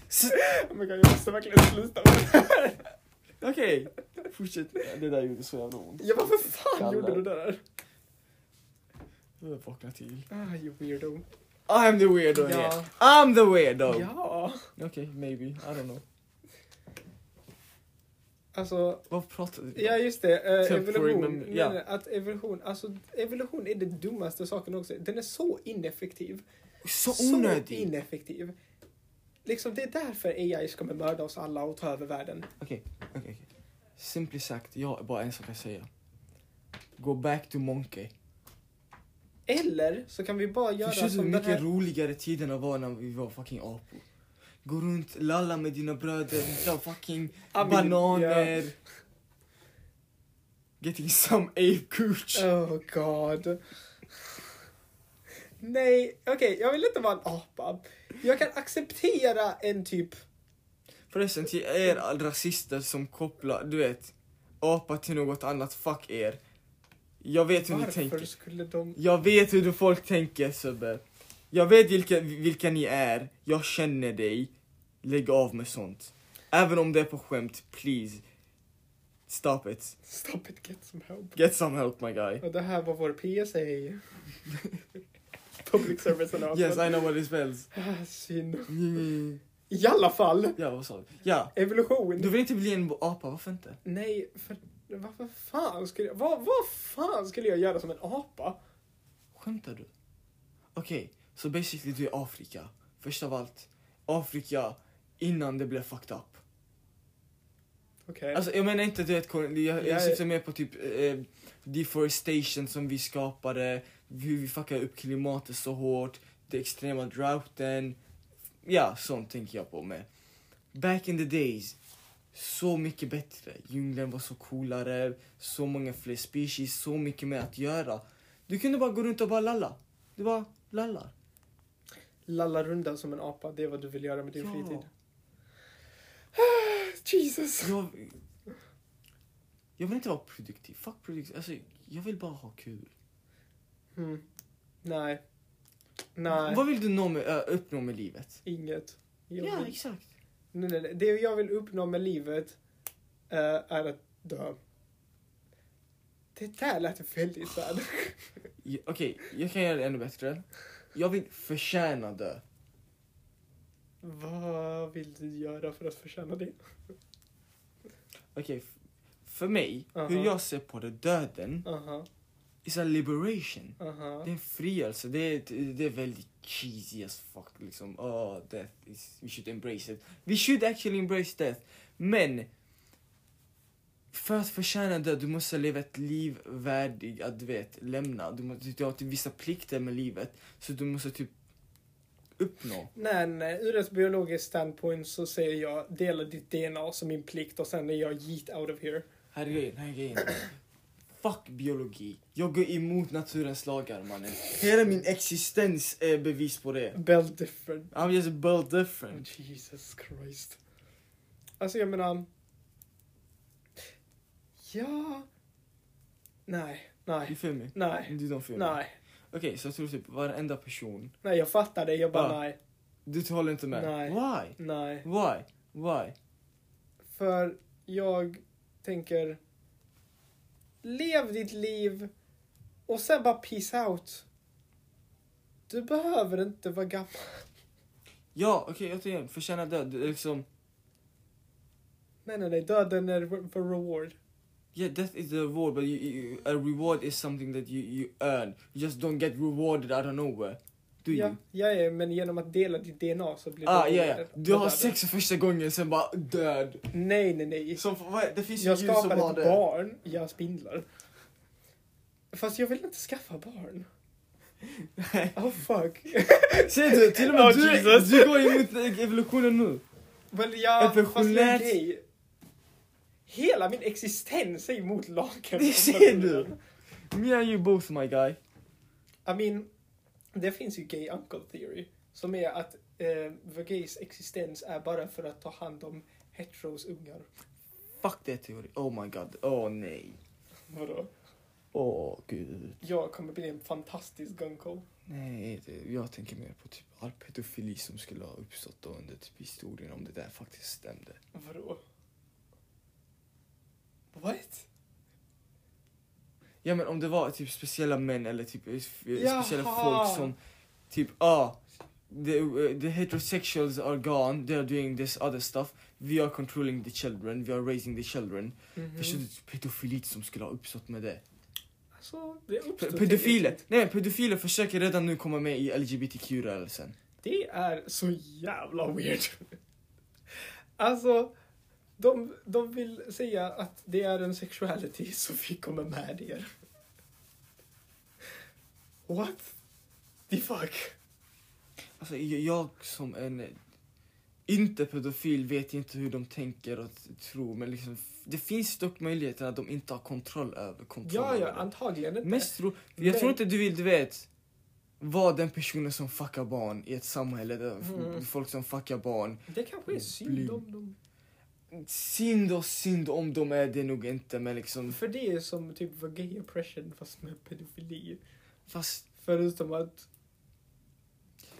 Speaker 1: Oh my God, jag måste verkligen sluta med det här.
Speaker 2: Okej, fortsätt. Ja, Det där gjorde så jävla ont.
Speaker 1: Ja, varför fan
Speaker 2: Skallar.
Speaker 1: gjorde du det där?
Speaker 2: Jag vaknade till.
Speaker 1: Ah, you weirdo.
Speaker 2: I'm the weirdo
Speaker 1: Ja.
Speaker 2: here. I'm the weirdo!
Speaker 1: Ja.
Speaker 2: Okej, maybe. I don't know.
Speaker 1: Alltså,
Speaker 2: Vad pratade vi om?
Speaker 1: ja just det. eh,
Speaker 2: Temporary
Speaker 1: evolution.
Speaker 2: mem-
Speaker 1: Nej,
Speaker 2: ja.
Speaker 1: nej, att evolution. Alltså, evolution är det dummaste saken också. Den är så ineffektiv.
Speaker 2: Så onödig!
Speaker 1: Så ineffektiv. Liksom, det är därför AI kommer mörda oss alla och ta över världen.
Speaker 2: Okej, okej. okej. Simply sagt, jag är bara en som kan säga. Go back to monkey.
Speaker 1: Eller så kan vi bara göra
Speaker 2: Förstår du hur
Speaker 1: som den
Speaker 2: mycket
Speaker 1: här...
Speaker 2: roligare tiderna var när vi var fucking apor? Gå runt, lalla med dina bröder, hitta fucking
Speaker 1: Amin.
Speaker 2: bananer. Getting some ape cooch.
Speaker 1: Oh god. Nej, okej, jag vill inte vara en apa. Jag kan acceptera en typ...
Speaker 2: Förresten till er all rasister som kopplar, du vet, apa till något annat, fuck er. Jag vet hur ni
Speaker 1: Varför
Speaker 2: tänker.
Speaker 1: skulle de...
Speaker 2: Jag vet hur du folk tänker Sebbe. Jag vet vilka, vilka ni är, jag känner dig. Lägg av med sånt. Även om det är på skämt, please. Stop it.
Speaker 1: Stop it, get some help.
Speaker 2: Get some help my guy.
Speaker 1: Och det här var vår PSA. Public service announcement.
Speaker 2: Yes I know what it spells.
Speaker 1: ah, synd. I alla fall,
Speaker 2: Ja vad sa du? Ja.
Speaker 1: evolution.
Speaker 2: Du vill inte bli en apa, varför inte?
Speaker 1: Nej, för varför fan skulle jag... Vad, vad fan skulle jag göra som en apa?
Speaker 2: Skämtar du? Okej, så basically du är Afrika. Först av allt, Afrika innan det blev fucked up.
Speaker 1: Okej.
Speaker 2: Alltså jag menar inte du vet, Corin, jag,
Speaker 1: Jag är-
Speaker 2: jag syftar mer på typ eh, deforestation som vi skapade, hur vi fuckade upp klimatet så hårt, den extrema droughten. Ja, sånt tänker jag på med. Back in the days, så mycket bättre. Djungeln var så coolare, så många fler species, så mycket mer att göra. Du kunde bara gå runt och bara lalla. Du bara lallar.
Speaker 1: Lalla runda som en apa, det är vad du vill göra med din
Speaker 2: Ja.
Speaker 1: fritid. Ah, Jesus.
Speaker 2: Jag, jag vill inte vara produktiv. Fuck produktiv. Alltså, jag vill bara ha kul.
Speaker 1: Mm. Nej. Nej,
Speaker 2: Vad vill du nå med, ö, uppnå med livet?
Speaker 1: inget. Jag
Speaker 2: ja,
Speaker 1: vill...
Speaker 2: exakt.
Speaker 1: nej, nej, nej. Det jag vill uppnå med livet eh, är att dö. Det där lät väldigt sad.
Speaker 2: Ja, Okej, jag kan göra det ännu bättre. Jag vill förtjäna dö.
Speaker 1: Vad vill du göra för att förtjäna det?
Speaker 2: Okej, f- för mig, hur
Speaker 1: Aha.
Speaker 2: jag ser på det, döden,
Speaker 1: Aha,
Speaker 2: is a liberation.
Speaker 1: aha.
Speaker 2: Det är en frigörelse, det är, ett- det är väldigt cheesy as fuck liksom. Oh, death is, we should embrace it. We should actually embrace death. Men, för att förtjäna det, du måste leva ett liv värdigt att du vet, lämna. Du, måste, du har typ vissa plikter med livet, så du måste typ uppnå.
Speaker 1: Nej, nej, ur ett biologiskt standpoint så säger jag dela ditt DNA som min plikt och sen är jag yeet out of here.
Speaker 2: Här är grejen, här är grejen. Fuck biologi. Jag går emot naturens lagar mannen. Hela min existens är bevis på det.
Speaker 1: Bell different.
Speaker 2: I'm just built
Speaker 1: Oh,
Speaker 2: different.
Speaker 1: Jesus Christ. Alltså jag menar... Ja... Nej,
Speaker 2: You
Speaker 1: nej,
Speaker 2: feel me?
Speaker 1: nej,
Speaker 2: Du don't feel me?
Speaker 1: nej.
Speaker 2: Okej, så jag tror typ varenda person.
Speaker 1: Nej, jag fattar det. Jag bara
Speaker 2: Ja.
Speaker 1: nej,
Speaker 2: Du håller inte med?
Speaker 1: Nej.
Speaker 2: Why?
Speaker 1: nej.
Speaker 2: Why? Why?
Speaker 1: För jag tänker... Lev ditt liv och sen bara peace out. Du behöver inte vara gammal.
Speaker 2: Ja, okej, återigen. Förtjäna död. Det är Liksom,
Speaker 1: Nej, nej, nej. Döden är för reward.
Speaker 2: yeah, death is a reward, but you, you, a reward is something that you, you earn. You just don't get rewarded out of nowhere. Do
Speaker 1: ja,
Speaker 2: you?
Speaker 1: ja, ja, men genom att dela ditt DNA så blir
Speaker 2: Ah, ja, ja.
Speaker 1: rewarded.
Speaker 2: Du har
Speaker 1: Döden.
Speaker 2: sex för första gången, sen bara död.
Speaker 1: Nej, nej, nej.
Speaker 2: Som, vad, det finns ju
Speaker 1: Jag
Speaker 2: djur som
Speaker 1: skapar
Speaker 2: har
Speaker 1: ett
Speaker 2: det.
Speaker 1: barn, jag spindlar. Fast jag vill inte skaffa barn. Oh fuck.
Speaker 2: Ser du? Till och med
Speaker 1: Oh,
Speaker 2: du,
Speaker 1: Jesus.
Speaker 2: du går emot evolutionen nu.
Speaker 1: Well, jag, fast jag är
Speaker 2: Evolutionärt-
Speaker 1: gay. Hela min existens är emot lagen.
Speaker 2: Det ser du. Me and you both my guy.
Speaker 1: I mean, det finns ju gay uncle theory. Som är att eh, the gays existens är bara för att ta hand om heteros ungar.
Speaker 2: Fuck det är teori. Oh my god. Åh nej.
Speaker 1: Vadå?
Speaker 2: Åh gud.
Speaker 1: Jag kommer bli en fantastisk gunko.
Speaker 2: Nej, det, jag tänker mer på typ all pedofili som skulle ha uppstått då under typ historien om det där faktiskt stämde.
Speaker 1: Vadå? What?
Speaker 2: Ja men om det var typ speciella män eller typ eh, f- eh, speciella
Speaker 1: Jaha.
Speaker 2: folk som typ ah the, eh, the heterosexuals are gone, they are doing this other stuff. We are controlling the children, we are raising the children.
Speaker 1: Mm. Mm-hmm.
Speaker 2: Förstår du typ pedofilit som skulle ha uppstått med det?
Speaker 1: Alltså, det uppstår...
Speaker 2: Pe- pedofiler, nej pedofiler försöker redan nu komma med i LGBTQ-rörelsen.
Speaker 1: Det är så jävla weird. Alltså, de, de vill säga att det är en sexuality så vi kommer med er. What the fuck?
Speaker 2: Alltså jag, jag som en eh, inte pedofil vet inte hur de tänker och t- tror men liksom f- det finns dock möjligheter att de inte har kontroll över
Speaker 1: Ja,
Speaker 2: kontrollen.
Speaker 1: ja, antagligen inte.
Speaker 2: Mest tro, jag
Speaker 1: Men-
Speaker 2: tror inte du vill, du vet, vara den personen som fuckar barn i ett samhälle där f-
Speaker 1: Mm.
Speaker 2: folk som fuckar barn.
Speaker 1: Det kanske är synd om dem.
Speaker 2: Synd och synd om de är det nog inte men liksom
Speaker 1: För det är som typ vad gay oppression fast med pedofili.
Speaker 2: fast,
Speaker 1: Förutom att...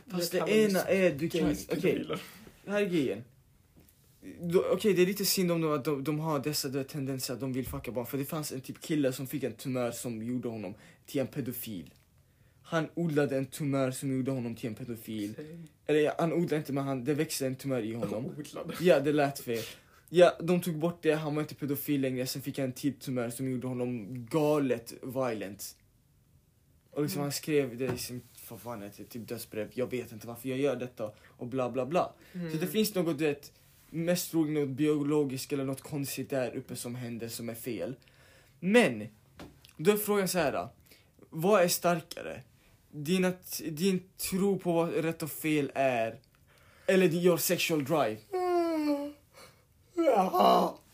Speaker 2: fast
Speaker 1: Jag
Speaker 2: det
Speaker 1: kan väl
Speaker 2: ena är du kan,
Speaker 1: gays
Speaker 2: okej
Speaker 1: pedofiler.
Speaker 2: Det här är grejen. Då- Okej, det är lite synd om dem att de, de har dessa där tendenser att de vill fucka barn. För det fanns en typ kille som fick en tumör som gjorde honom till en pedofil. Han odlade en tumör som gjorde honom till en pedofil. Eller ja, han odlade inte men han, det växte en tumör i honom.
Speaker 1: Odlade.
Speaker 2: Ja, det lät fel. Ja, de tog bort det, han var inte pedofil längre. Sen fick han en till tumör som gjorde honom galet violent. Och liksom han skrev det i sin, vad fan heter det, typ dödsbrev. Jag vet inte varför jag gör detta och bla bla bla. Så
Speaker 1: Mm.
Speaker 2: det finns något, du vet, mest troligt något biologiskt eller något konstigt där uppe som händer som är fel. Men, då är frågan så här. då. Vad är starkare? Dina, t- din tro på vad rätt och fel är, eller din- your sexual drive?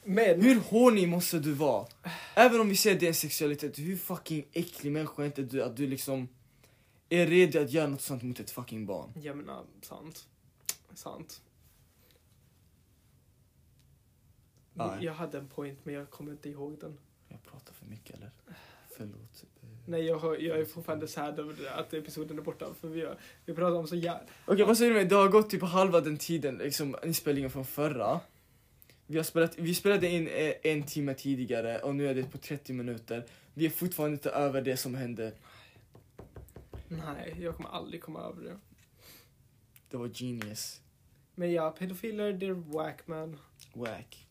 Speaker 1: Men...
Speaker 2: Hur horny måste du vara? Även om vi ser det är sexualitet, hur fucking äcklig människa är inte du att du liksom är redo att göra något sånt mot ett fucking barn?
Speaker 1: Jag menar, sant. Sant.
Speaker 2: Nej.
Speaker 1: Jag hade en point, men jag kommer inte ihåg den.
Speaker 2: Jag pratar för mycket eller? Förlåt.
Speaker 1: Nej, jag, har, jag är fortfarande sad över det, att episoden är borta. För vi, har, vi pratar om så jävla...
Speaker 2: Okej vad säger du mig? Det har gått typ halva den tiden, liksom inspelningen från förra. Vi, har spelat, vi spelade in eh, en timme tidigare och nu är det på 30 minuter. Vi är fortfarande inte över det som hände.
Speaker 1: Nej, jag kommer aldrig komma över det.
Speaker 2: Det var genius.
Speaker 1: Men ja, pedofiler, det är whack man.
Speaker 2: Wack.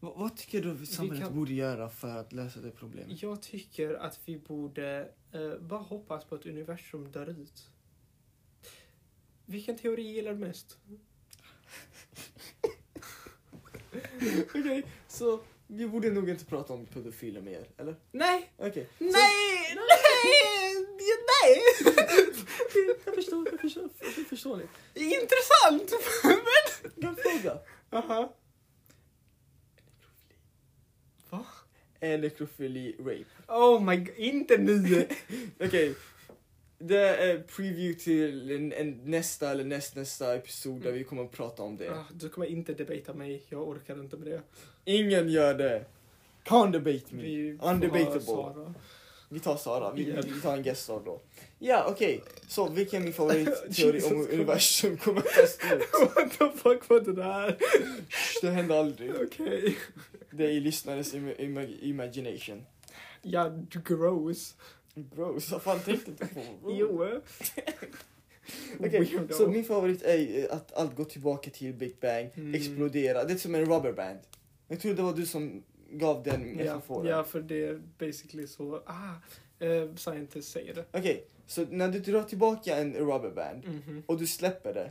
Speaker 2: Va, vad tycker du samhället
Speaker 1: kan-
Speaker 2: borde göra för att lösa det problemet?
Speaker 1: Jag tycker att vi borde eh, bara hoppas på ett universum där ut. Vilken teori gillar du mest?
Speaker 2: Okej, så vi borde nog inte prata om pedofiler mer, eller?
Speaker 1: Nej!
Speaker 2: Okej.
Speaker 1: Nej! Nej! Nej!
Speaker 2: Jag förstår, jag förstår, jag förstår det.
Speaker 1: Intressant!
Speaker 2: En fråga.
Speaker 1: Aha.
Speaker 2: Är nekrofili rape?
Speaker 1: Oh my god, inte nu!
Speaker 2: Okej. Det är preview till en, en, nästa eller nästnästa episod där vi kommer att prata om det.
Speaker 1: Ah, du kommer inte debata mig, jag orkar inte med det.
Speaker 2: Ingen gör det! Can't debate me.
Speaker 1: Vi får
Speaker 2: Mm. Undebatable.
Speaker 1: ha Sara.
Speaker 2: Vi tar Sara, vi,
Speaker 1: Ja.
Speaker 2: vi tar en guest star då. Ja, okej. Så vilken är min favoritteori
Speaker 1: Jesus
Speaker 2: om
Speaker 1: Christ.
Speaker 2: universum kommer att ta slut?
Speaker 1: What the fuck var det där?
Speaker 2: Det händer aldrig.
Speaker 1: Okej.
Speaker 2: Det är i lyssnarens im- ima- imagination.
Speaker 1: Ja, gross.
Speaker 2: Bro, så fan tänkte inte på. bro.
Speaker 1: Jo.
Speaker 2: Okej,
Speaker 1: Weirdo.
Speaker 2: så min favorit är eh, att allt går tillbaka till Big Bang,
Speaker 1: Mm.
Speaker 2: explodera. Det är som en rubberband. Jag tror det var du som gav den
Speaker 1: Ja,
Speaker 2: metaforen.
Speaker 1: ja, för det är basically så, ah, eh, scientists säger det.
Speaker 2: Okej, så när du drar tillbaka en rubberband
Speaker 1: Mhm.
Speaker 2: och du släpper det.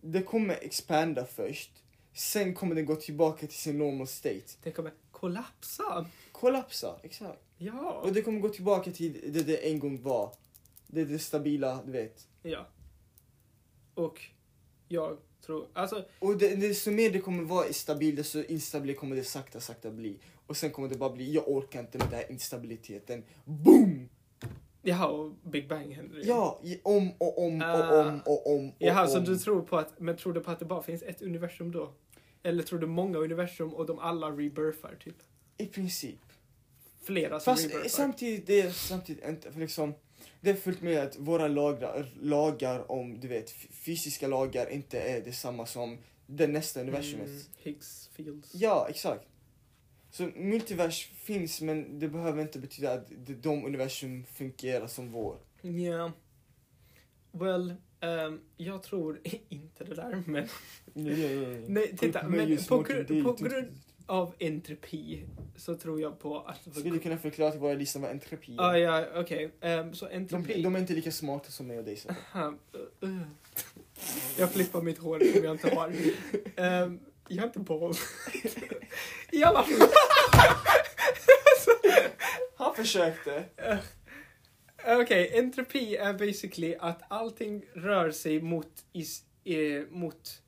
Speaker 2: Det kommer expanda först. Sen kommer den gå tillbaka till sin normal state.
Speaker 1: Det kommer kollapsa.
Speaker 2: Kollapsa, exakt.
Speaker 1: Ja.
Speaker 2: Och det kommer gå tillbaka till det det en gång var. Det, det stabila, du vet.
Speaker 1: Ja. Och jag tror, alltså,
Speaker 2: Och det, desto mer det kommer vara stabilt, desto instabil kommer det sakta, sakta bli. Och sen kommer det bara bli, jag orkar inte med den här instabiliteten. Boom!
Speaker 1: jaha, och Big Bang händer igen.
Speaker 2: Ja, i- om och om
Speaker 1: Ah.
Speaker 2: och
Speaker 1: alltså
Speaker 2: om och om och
Speaker 1: Jaha, så
Speaker 2: om.
Speaker 1: du tror på att, men tror du på att det bara finns ett universum då? Eller tror du många universum och de alla rebirthar typ?
Speaker 2: I princip.
Speaker 1: Flera som
Speaker 2: Fast eh,
Speaker 1: rebirthar.
Speaker 2: samtidigt, det är samtidigt inte, för liksom, det är fullt med att våra lagar, lagar om, du vet, f- fysiska lagar inte är detsamma som det nästa universumet.
Speaker 1: Mm, Higgs fields.
Speaker 2: Ja, exakt. Så multivers finns, men det behöver inte betyda att de- de universum fungerar som vår.
Speaker 1: Ja. Well, ehm, jag tror inte det där, men Nej, titta, men på grund- på grund- av entropi så tror jag på att...
Speaker 2: Skulle du kunna förklara till våra lyssnare vad entropi är?
Speaker 1: Ah, ja, okej. Ehm, så entropi...
Speaker 2: de, de är inte lika smarta som mig och dig. Så.
Speaker 1: Aha, uh, uh. Jag flippar mitt hår som jag inte har. Ehm, jag har inte boll. I alla fall.
Speaker 2: Han försökte.
Speaker 1: Okej, entropi är basically att allting rör sig mot... Is, eh, mot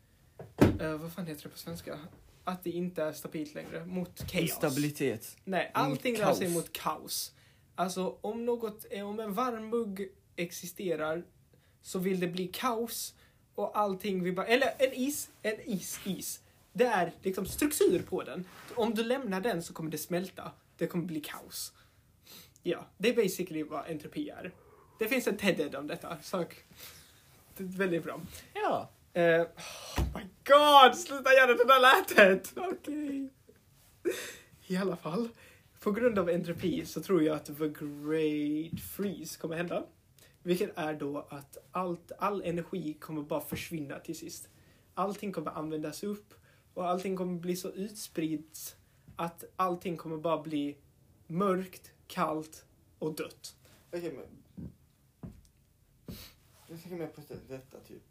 Speaker 1: eh, vad fan heter det på svenska? Att det inte är stabilt längre. Mot kaos.
Speaker 2: Instabilitet.
Speaker 1: Nej,
Speaker 2: Mot
Speaker 1: allting rör sig
Speaker 2: kaos.
Speaker 1: mot kaos. Alltså om något, eh, om en varmmugg existerar så vill det bli kaos och allting vill bara, eller en is, en is, is. Det är liksom struktur på den. Om du lämnar den så kommer det smälta. Det kommer bli kaos. Ja, det är basically vad entropi är. Det finns en TED-ed om detta. Sök. Det är väldigt bra.
Speaker 2: Ja.
Speaker 1: Eh, oh my god, sluta göra det där lätet! Okej. I alla fall, på grund av entropi så tror jag att the great freeze kommer hända. Vilket är då att allt, all energi kommer bara försvinna till sist. Allting kommer användas upp och allting kommer bli så utspritt att allting kommer bara bli mörkt, kallt och dött.
Speaker 2: Okej, men... Jag tänker mer på det- detta, typ.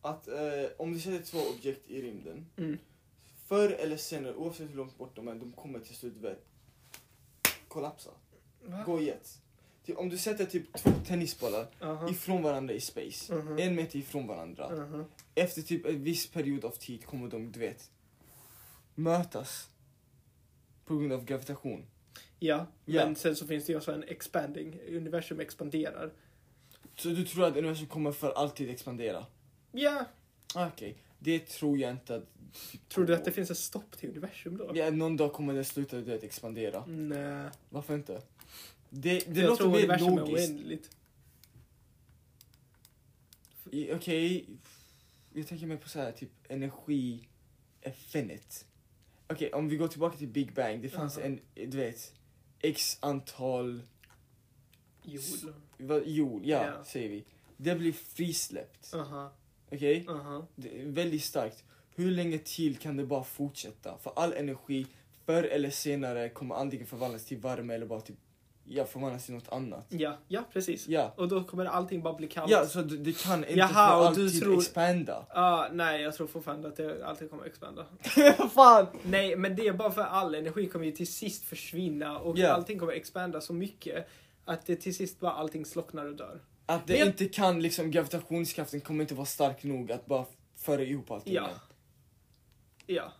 Speaker 2: Att eh, om du sätter två objekt i rymden,
Speaker 1: Mm.
Speaker 2: förr eller senare, oavsett hur långt bort de är, de kommer till slut vet, kollapsa. Gå i ett. Typ, om du sätter typ två tennisbollar
Speaker 1: Aha.
Speaker 2: ifrån varandra i space,
Speaker 1: Mhm.
Speaker 2: en meter ifrån varandra.
Speaker 1: Aha.
Speaker 2: Efter typ en viss period av tid kommer de, du vet, mötas. På grund av gravitation.
Speaker 1: Ja,
Speaker 2: Ja.
Speaker 1: men sen så finns det ju också en expanding. Universum expanderar.
Speaker 2: Så du tror att universum kommer för alltid expandera?
Speaker 1: Ja,
Speaker 2: Okej, det tror jag inte att...
Speaker 1: tror du att det finns ett stopp till universum då? Mm,
Speaker 2: Ja, någon dag kommer det sluta du vet, expandera.
Speaker 1: Nej.
Speaker 2: Varför inte? Det, det
Speaker 1: jag
Speaker 2: låter
Speaker 1: tror
Speaker 2: mer
Speaker 1: universum är
Speaker 2: logiskt.
Speaker 1: oändligt.
Speaker 2: I- Okej, jag tänker mer på så här, typ energi infinite. Okej, om vi går tillbaka till Big Bang. Det fanns
Speaker 1: Aha.
Speaker 2: en, du vet, x antal
Speaker 1: Jord.
Speaker 2: vad- jord, ja,
Speaker 1: Ja.
Speaker 2: säger vi. Det blir frisläppt.
Speaker 1: Aha,
Speaker 2: Okej?
Speaker 1: aha.
Speaker 2: Det är väldigt starkt. Hur länge till kan det bara fortsätta? För all energi, förr eller senare, kommer antingen förvandlas till värme eller bara till, ja, förvandlas till något annat.
Speaker 1: Ja, ja precis.
Speaker 2: Ja,
Speaker 1: Och då kommer allting bara bli kallt.
Speaker 2: ja så det, det kan inte
Speaker 1: Jaha,
Speaker 2: för
Speaker 1: och du
Speaker 2: alltid
Speaker 1: tror-
Speaker 2: expanda.
Speaker 1: Ah, nej, jag tror fortfarande att det alltid kommer att expandera.
Speaker 2: Fan!
Speaker 1: Nej, men det är bara för all energi kommer ju till sist försvinna och
Speaker 2: Ja.
Speaker 1: allting kommer att expandera så mycket att det till sist bara allting slocknar och dör.
Speaker 2: Att det
Speaker 1: Men jag-
Speaker 2: inte kan, liksom gravitationskraften kommer inte vara stark nog att bara föra ihop allting
Speaker 1: Ja.
Speaker 2: igen.
Speaker 1: Ja,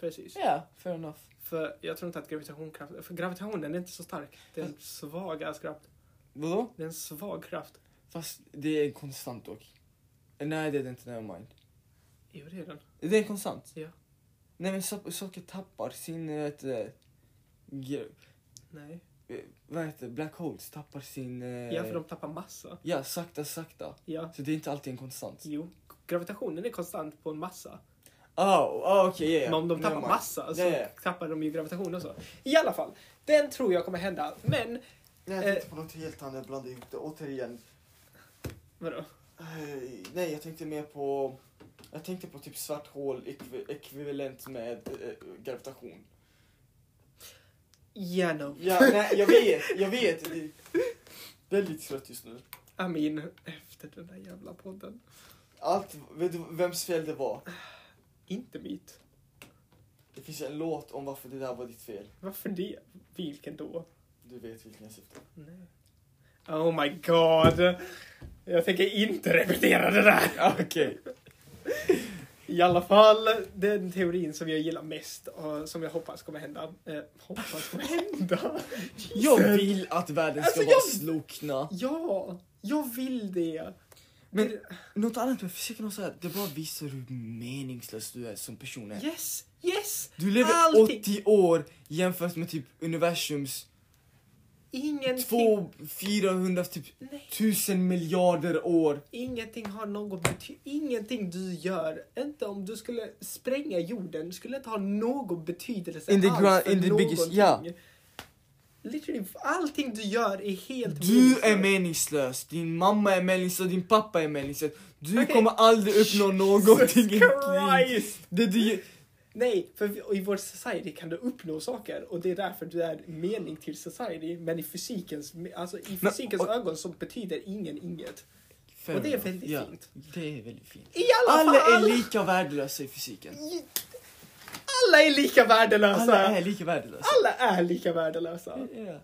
Speaker 1: precis.
Speaker 2: Ja, fair enough.
Speaker 1: För jag tror inte att gravitationskraft... För gravitationen är inte så stark. Det är en svag kraft.
Speaker 2: Vadå?
Speaker 1: Det är en svag kraft.
Speaker 2: Fast det är en konstant dock. Nej, det är det inte, nevermind.
Speaker 1: Jo, det är den.
Speaker 2: Det är konstant?
Speaker 1: Ja.
Speaker 2: Nej men so- saker tappar sin, eh, vet du det, gra-
Speaker 1: Nej.
Speaker 2: eh, vad heter det, black holes tappar sin... eh,
Speaker 1: Ja, för de tappar massa.
Speaker 2: ja, sakta sakta.
Speaker 1: Ja.
Speaker 2: Så det är inte alltid en konstant.
Speaker 1: Jo. Gravitationen är konstant på en massa.
Speaker 2: Ah, ah okej, ja, ja.
Speaker 1: Men om de tappar
Speaker 2: Nevermind.
Speaker 1: massa så
Speaker 2: Ja, ja.
Speaker 1: tappar de ju gravitation och så. I alla fall. Den tror jag kommer hända. Men,
Speaker 2: Nej,
Speaker 1: Eh.
Speaker 2: jag tänkte på något helt annat, jag blandade ihop det återigen.
Speaker 1: vadå?
Speaker 2: Eh, nej, jag tänkte mer på... Jag tänkte på typ svart hål ekvi- ekvivalent med eh, gravitation.
Speaker 1: Ja, no.
Speaker 2: Ja, nej, jag vet, jag vet. Det är väldigt trött just nu.
Speaker 1: I mean, efter den där jävla podden.
Speaker 2: Allt, vet du vems fel det var?
Speaker 1: Inte mitt.
Speaker 2: Det finns en låt om varför det där var ditt fel.
Speaker 1: Varför det? Vilken då?
Speaker 2: Du vet vilken jag syftar på.
Speaker 1: Nej. Oh my god. Jag tänker inte repetera det där.
Speaker 2: Okej.
Speaker 1: I alla fall den teorin som jag gillar mest och som jag hoppas kommer hända. Eh, hoppas kommer hända?
Speaker 2: Jag vill att världen ska
Speaker 1: Alltså,
Speaker 2: vara
Speaker 1: jag-
Speaker 2: slokna.
Speaker 1: Ja, jag vill det. Men,
Speaker 2: Något annat med fysiken också är att det bara visar hur meningslös du är som person är.
Speaker 1: yes, yes!
Speaker 2: Du lever
Speaker 1: Allting.
Speaker 2: 80 år jämfört med typ universums
Speaker 1: Ingenting,
Speaker 2: två 400, typ
Speaker 1: nej,
Speaker 2: 1000 miljarder år.
Speaker 1: ingenting har något betydelse. Ingenting du gör, inte om du skulle spränga jorden, skulle inte ha någon betydelse
Speaker 2: In the
Speaker 1: alls
Speaker 2: grand-
Speaker 1: för
Speaker 2: in the
Speaker 1: någonting.
Speaker 2: biggest- ja.
Speaker 1: Literally, allting du gör är helt
Speaker 2: Du är
Speaker 1: meningslöst.
Speaker 2: meningslös, din mamma är meningslös, din pappa är meningslös. Du
Speaker 1: Okej.
Speaker 2: kommer aldrig uppnå någonting i ditt liv.
Speaker 1: Christ!
Speaker 2: Det du gör-
Speaker 1: Nej, för vi- i vår society kan du uppnå saker och det är därför du är mening till society. Men i fysikens, alltså i
Speaker 2: Men-
Speaker 1: fysikens
Speaker 2: och-
Speaker 1: ögon så betyder ingen inget.
Speaker 2: Fair
Speaker 1: Och det är
Speaker 2: enough.
Speaker 1: väldigt
Speaker 2: Ja,
Speaker 1: fint.
Speaker 2: Det är väldigt fint.
Speaker 1: I alla
Speaker 2: Alla
Speaker 1: fall!
Speaker 2: är lika värdelösa i fysiken.
Speaker 1: alla är lika värdelösa!
Speaker 2: Alla är lika värdelösa.
Speaker 1: Alla är lika värdelösa.
Speaker 2: Ja.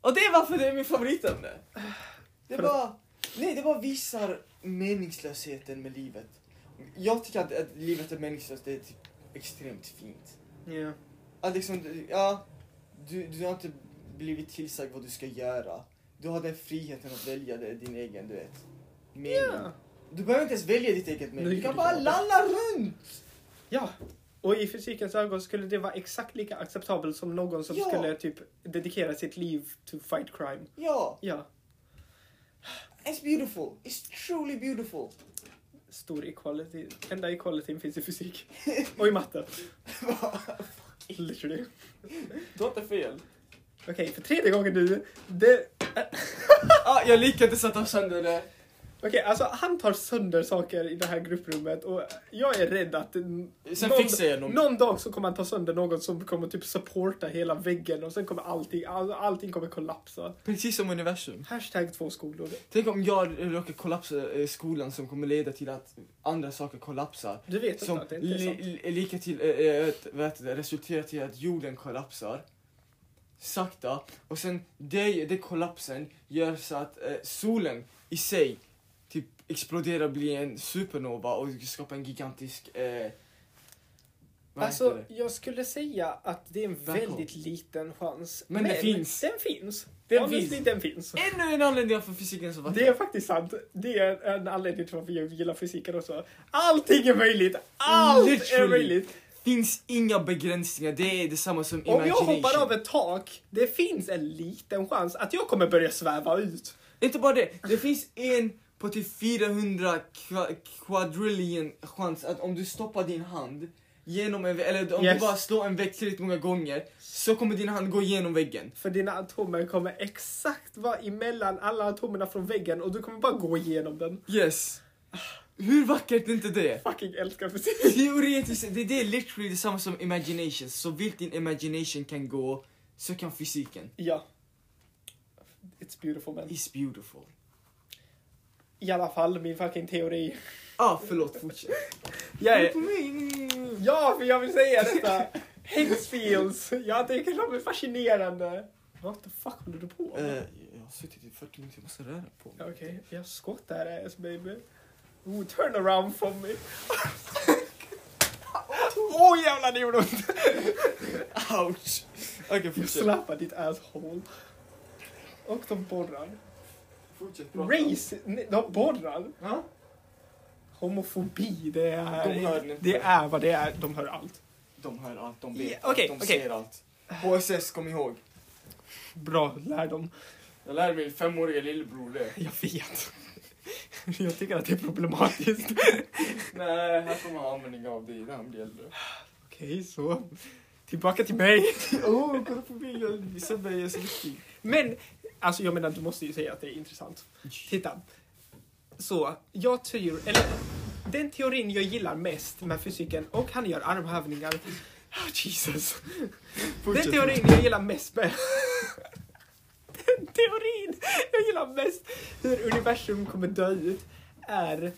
Speaker 2: Och det är varför det är min favoritämne. Det
Speaker 1: Förlåt.
Speaker 2: bara, nej, det bara visar meningslösheten med livet. Jag tycker att, att livet är meningslöst, det är typ extremt fint.
Speaker 1: Ja.
Speaker 2: Att liksom, du- ja, du, du har inte blivit tillsagd vad du ska göra. Du har den friheten att välja det, din egen, du vet. Mening.
Speaker 1: Ja.
Speaker 2: Du behöver inte ens välja ditt eget
Speaker 1: Nu
Speaker 2: mening, du
Speaker 1: gjorde
Speaker 2: kan bara
Speaker 1: jag det.
Speaker 2: lalla runt!
Speaker 1: ja. Och i fysikens ögon skulle det vara exakt lika acceptabelt som någon som
Speaker 2: Ja.
Speaker 1: skulle typ dedikera sitt liv to fight crime.
Speaker 2: Ja,
Speaker 1: Ja.
Speaker 2: it's beautiful, it's truly beautiful.
Speaker 1: Stor equality. Enda equalityn finns i fysik. Och i matte. Literally.
Speaker 2: Du har inte fel.
Speaker 1: Okej, för tredje gången nu. Det...
Speaker 2: Ah, jag lyckades sätta sönder det.
Speaker 1: Okej, alltså han tar sönder saker i det här grupprummet och jag är rädd att n-
Speaker 2: Sen
Speaker 1: någon,
Speaker 2: fixar jag nog.
Speaker 1: någon dag så kommer han ta sönder någon som kommer typ supporta hela väggen och sen kommer allting, all, allting kommer kollapsa.
Speaker 2: Precis som universum.
Speaker 1: Hashtag två skolor.
Speaker 2: Tänk om jag råkar kollapsa eh, skolan som kommer leda till att andra saker kollapsar.
Speaker 1: Du vet
Speaker 2: Som
Speaker 1: inte att det inte är sant.
Speaker 2: li, li, lika till, eh, eh, vet- vet, du, resulterar till att jorden kollapsar. Sakta. Och sen det, det kollapsen gör så att eh, solen i sig typ exploderar och blir en supernova och skapar en gigantisk... Eh, vad heter
Speaker 1: Alltså,
Speaker 2: det?
Speaker 1: jag skulle säga att det är en
Speaker 2: Black hole.
Speaker 1: väldigt liten chans.
Speaker 2: Men den finns.
Speaker 1: Den finns.
Speaker 2: Den
Speaker 1: Honestly,
Speaker 2: finns.
Speaker 1: den finns.
Speaker 2: Ännu en anledning varför fysiken så vacker.
Speaker 1: Det är faktiskt sant. Det är en anledning till varför jag gillar fysiken också. Allting är möjligt! Allt är
Speaker 2: Literally.
Speaker 1: möjligt!
Speaker 2: finns inga begränsningar, det är detsamma som
Speaker 1: Om jag
Speaker 2: imagination.
Speaker 1: hoppar av ett tak, det finns en liten chans att jag kommer börja sväva ut.
Speaker 2: Inte bara det, det finns en på till 400 kva- quadrillion chans att om du stoppar din hand genom en vä- eller om
Speaker 1: Yes.
Speaker 2: du bara slår en vägg tillräckligt många gånger så kommer din hand gå igenom väggen.
Speaker 1: För dina atomer kommer exakt vara emellan alla atomerna från väggen och du kommer bara gå igenom den.
Speaker 2: Yes. Hur vackert är inte det?
Speaker 1: Fucking älskar fysik.
Speaker 2: Teoretiskt, det, det är literally detsamma som imagination. Så vilt din imagination kan gå, så kan fysiken.
Speaker 1: Ja. It's beautiful man.
Speaker 2: It's beautiful.
Speaker 1: I alla fall, min fucking teori.
Speaker 2: Ah, förlåt, fortsätt.
Speaker 1: Jag är...
Speaker 2: På mig.
Speaker 1: Ja, för jag vill säga detta! Hexfields! Jag tycker de är fascinerande. What the fuck håller du på med?
Speaker 2: Eh, jag har suttit i 40 minuter, jag måste röra på mig.
Speaker 1: Okej, jag skottar ass baby. Ooh, turn around for me. Åh oh, jävlar det gjorde ont!
Speaker 2: Ouch! Okej,
Speaker 1: Jag
Speaker 2: fortsätt.
Speaker 1: slappar ditt asshole. Och de borrar.
Speaker 2: Fortsätt prata.
Speaker 1: Race, nej, de borrar.
Speaker 2: Ja?
Speaker 1: Homofobi, det är,
Speaker 2: De hör inte.
Speaker 1: det är vad det är. De hör allt.
Speaker 2: De hör allt, de vet
Speaker 1: Ja,
Speaker 2: allt,
Speaker 1: okej,
Speaker 2: de
Speaker 1: okej.
Speaker 2: ser allt. HSS, kom ihåg.
Speaker 1: Bra, lär dem.
Speaker 2: Jag lärde min femåriga lillebror det.
Speaker 1: Jag vet. Jag tycker att det är problematiskt.
Speaker 2: Nej, här kommer han användning av det när han blir äldre.
Speaker 1: Okej, så. Tillbaka till mig.
Speaker 2: Åh, kolla på mig, jag visar mig, jag är så viktig.
Speaker 1: Men, alltså jag menar du måste ju säga att det är intressant. Titta. Så, jag tror, eller den teorin jag gillar mest med fysiken, och han gör armhävningar. Oh, Jesus. Den teorin jag gillar mest med... den teorin jag gillar mest hur universum kommer dö ut är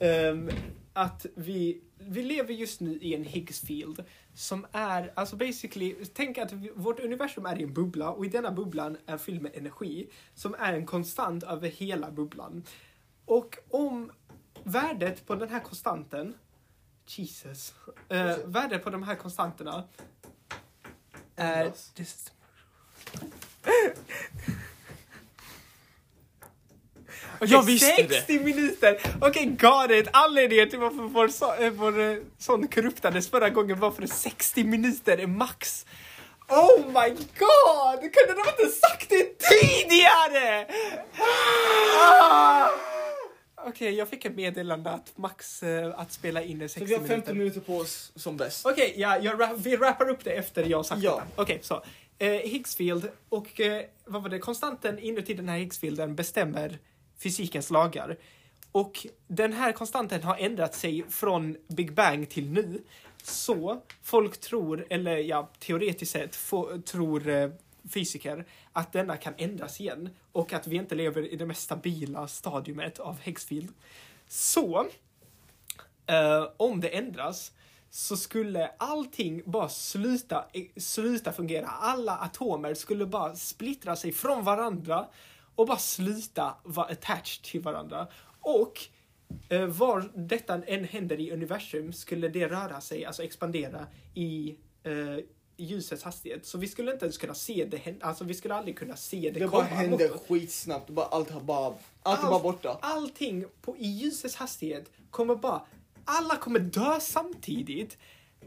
Speaker 1: ehm, att vi, vi lever just nu i en Higgs field som är, alltså basically, tänk att vi, vårt universum är i en bubbla och i denna bubblan är fylld med energi som är en konstant över hela bubblan. Och om värdet på den här konstanten, Jesus, eh, värdet på de här konstanterna är...
Speaker 2: Ändras.
Speaker 1: Det- Okej,
Speaker 4: jag visste
Speaker 1: 60 minuter! Okej, galet! Anledningen till varför vår, so eh, vår eh, son korruptades förra gången var för 60 minuter är max. Oh my god! Kunde de inte sagt det tidigare? Ah! Okej, jag fick ett meddelande att max eh, att spela in är
Speaker 2: Så vi
Speaker 1: 60
Speaker 2: har 15
Speaker 1: minuter.
Speaker 2: minuter på oss som bäst.
Speaker 1: Okej, ja, jag ra- vi rappar upp det efter jag har sagt
Speaker 2: Ja.
Speaker 1: detta. Okej, så. Eh, Higgsfield och eh, vad var det? Konstanten inuti den här Higgsfielden bestämmer fysikens lagar. Och den här konstanten har ändrat sig från Big Bang till nu. Så folk tror, eller ja, teoretiskt sett få, tror eh, fysiker att denna kan ändras igen och att vi inte lever i det mest stabila stadiumet av Higgsfield. Så eh, om det ändras så skulle allting bara sluta, eh, sluta fungera. Alla atomer skulle bara splittra sig från varandra och bara sluta vara attached till varandra. Och eh, var detta än händer i universum skulle det röra sig, alltså expandera i eh, ljusets hastighet. Så vi skulle inte ens kunna se det hända, alltså vi skulle aldrig kunna se det,
Speaker 2: Det bara
Speaker 1: komma.
Speaker 2: händer
Speaker 1: mot oss.
Speaker 2: skitsnabbt. Bara allt har bara... Allt, är
Speaker 1: Allt-
Speaker 2: bara borta.
Speaker 1: Allting på, i ljusets hastighet kommer bara... Alla kommer dö samtidigt.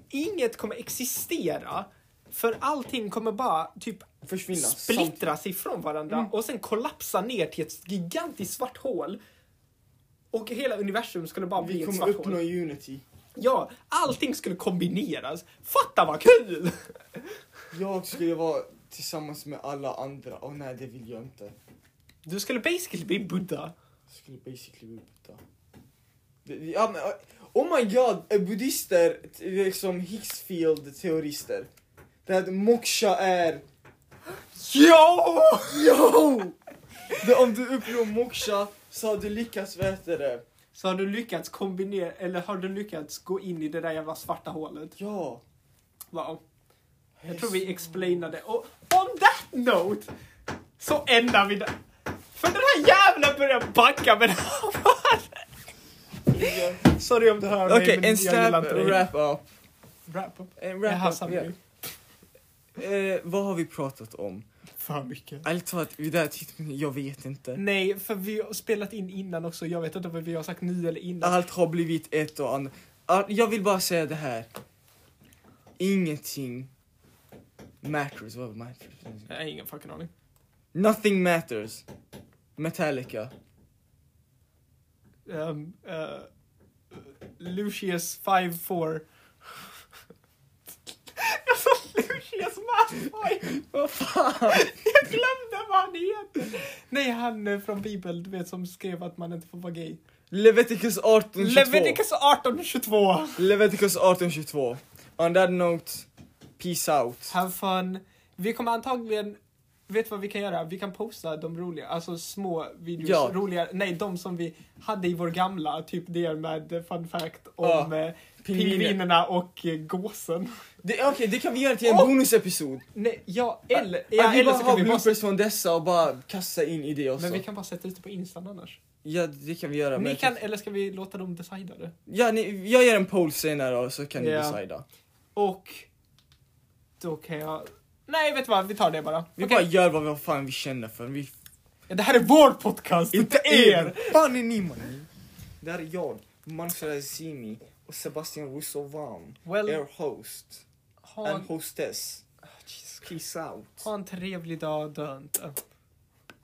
Speaker 1: Inget kommer existera. För allting kommer bara typ
Speaker 2: Försvinna. samtidigt.
Speaker 1: splittras ifrån varandra
Speaker 2: Mm.
Speaker 1: och sen kollapsa ner till ett gigantiskt svart hål. Och hela universum skulle bara bli
Speaker 2: Vi
Speaker 1: ett
Speaker 2: kommer
Speaker 1: svart hål.
Speaker 2: uppnå unity.
Speaker 1: Ja, allting skulle kombineras. Fatta vad kul!
Speaker 2: Jag skulle vara tillsammans med alla andra. Åh nej, det vill jag inte.
Speaker 1: Du skulle basically bli Buddha.
Speaker 2: Jag skulle basically bli Buddha. Det- det- Ja, men, eh, oh my god, eh, buddister, t- liksom Higgsfield-terrorister. Det här att moksha är...
Speaker 1: Ja!
Speaker 2: Yo! det, om du uppnår moksha så har du lyckats, vad heter det?
Speaker 1: Så har du lyckats kombinera, eller har du lyckats gå in i det där jävla svarta hålet?
Speaker 2: Ja.
Speaker 1: Wow. Jag tror vi explainade. Och on that note så ändrar vi det. För den här jävla börjar backa med det här. Sorry om du hör mig,
Speaker 2: Okej,
Speaker 1: men
Speaker 2: en
Speaker 1: jag gillar
Speaker 2: snabb
Speaker 1: inte dig.
Speaker 2: wrap-up.
Speaker 1: Wrap up.
Speaker 2: En
Speaker 1: Jag har
Speaker 2: wrap-up,
Speaker 1: samma
Speaker 2: ja. Eh, Vad har vi pratat om?
Speaker 1: För mycket.
Speaker 2: Ärligt talat, vid det här tidpunkten, jag vet inte.
Speaker 1: Nej, för vi har spelat in innan också. Jag vet inte vad vi har sagt nu eller innan.
Speaker 2: Allt har blivit ett och annat. Allt- Jag vill bara säga det här. Ingenting matters. Vad matters?
Speaker 1: Jag har ingen fucking aning.
Speaker 2: Nothing matters. Metallica.
Speaker 1: Um, eh, Lucius 5-4. Jag sa Lucius Malfoy!
Speaker 2: Vad fan?
Speaker 1: Jag glömde vad han heter! Nej, han eh, från Bibeln, du vet, som skrev att man inte får vara gay.
Speaker 2: Leviticus 1822.
Speaker 1: Leviticus 1822!
Speaker 2: Leviticus 1822. On that note, peace out.
Speaker 1: Have fun. Vi kommer antagligen... Vet vad vi kan göra? Vi kan posta de roliga, alltså små videos.
Speaker 2: Ja.
Speaker 1: Roliga, nej, de som vi hade i vår gamla, typ det med eh, fun fact
Speaker 2: Ja.
Speaker 1: om eh,
Speaker 2: Pingviner.
Speaker 1: pingvinerna och eh, gåsen.
Speaker 2: Det- Okej, det kan vi göra till en
Speaker 1: Och-
Speaker 2: bonusepisod.
Speaker 1: Nej, ja, eller,
Speaker 2: att
Speaker 1: ja,
Speaker 2: vi
Speaker 1: eller så
Speaker 2: bara
Speaker 1: kan
Speaker 2: har
Speaker 1: vi bara...
Speaker 2: bloopers från dessa och bara kasta in i det också.
Speaker 1: Men vi kan bara sätta ut det på Instan annars.
Speaker 2: Ja, det kan vi göra. men
Speaker 1: Ni
Speaker 2: jag
Speaker 1: kan, eller ska vi låta dem decida det?
Speaker 2: Ja, ni, jag gör en poll senare och så kan ni
Speaker 1: Ja.
Speaker 2: decida.
Speaker 1: Och då kan jag... Nej, vet du vad? Vi tar det bara.
Speaker 2: Vi
Speaker 1: Okej.
Speaker 2: bara gör vad vi fan vi känner för. Vi,
Speaker 1: Det här är vår podcast, inte er!
Speaker 2: Fan är ni mannen? Det här är jag, Mansour Azimi och Sebastian Russovam.
Speaker 1: Well, Oh,
Speaker 2: Er host
Speaker 1: ha, en,
Speaker 2: and hostess. Peace out.
Speaker 1: ha en trevlig dag, dö inte.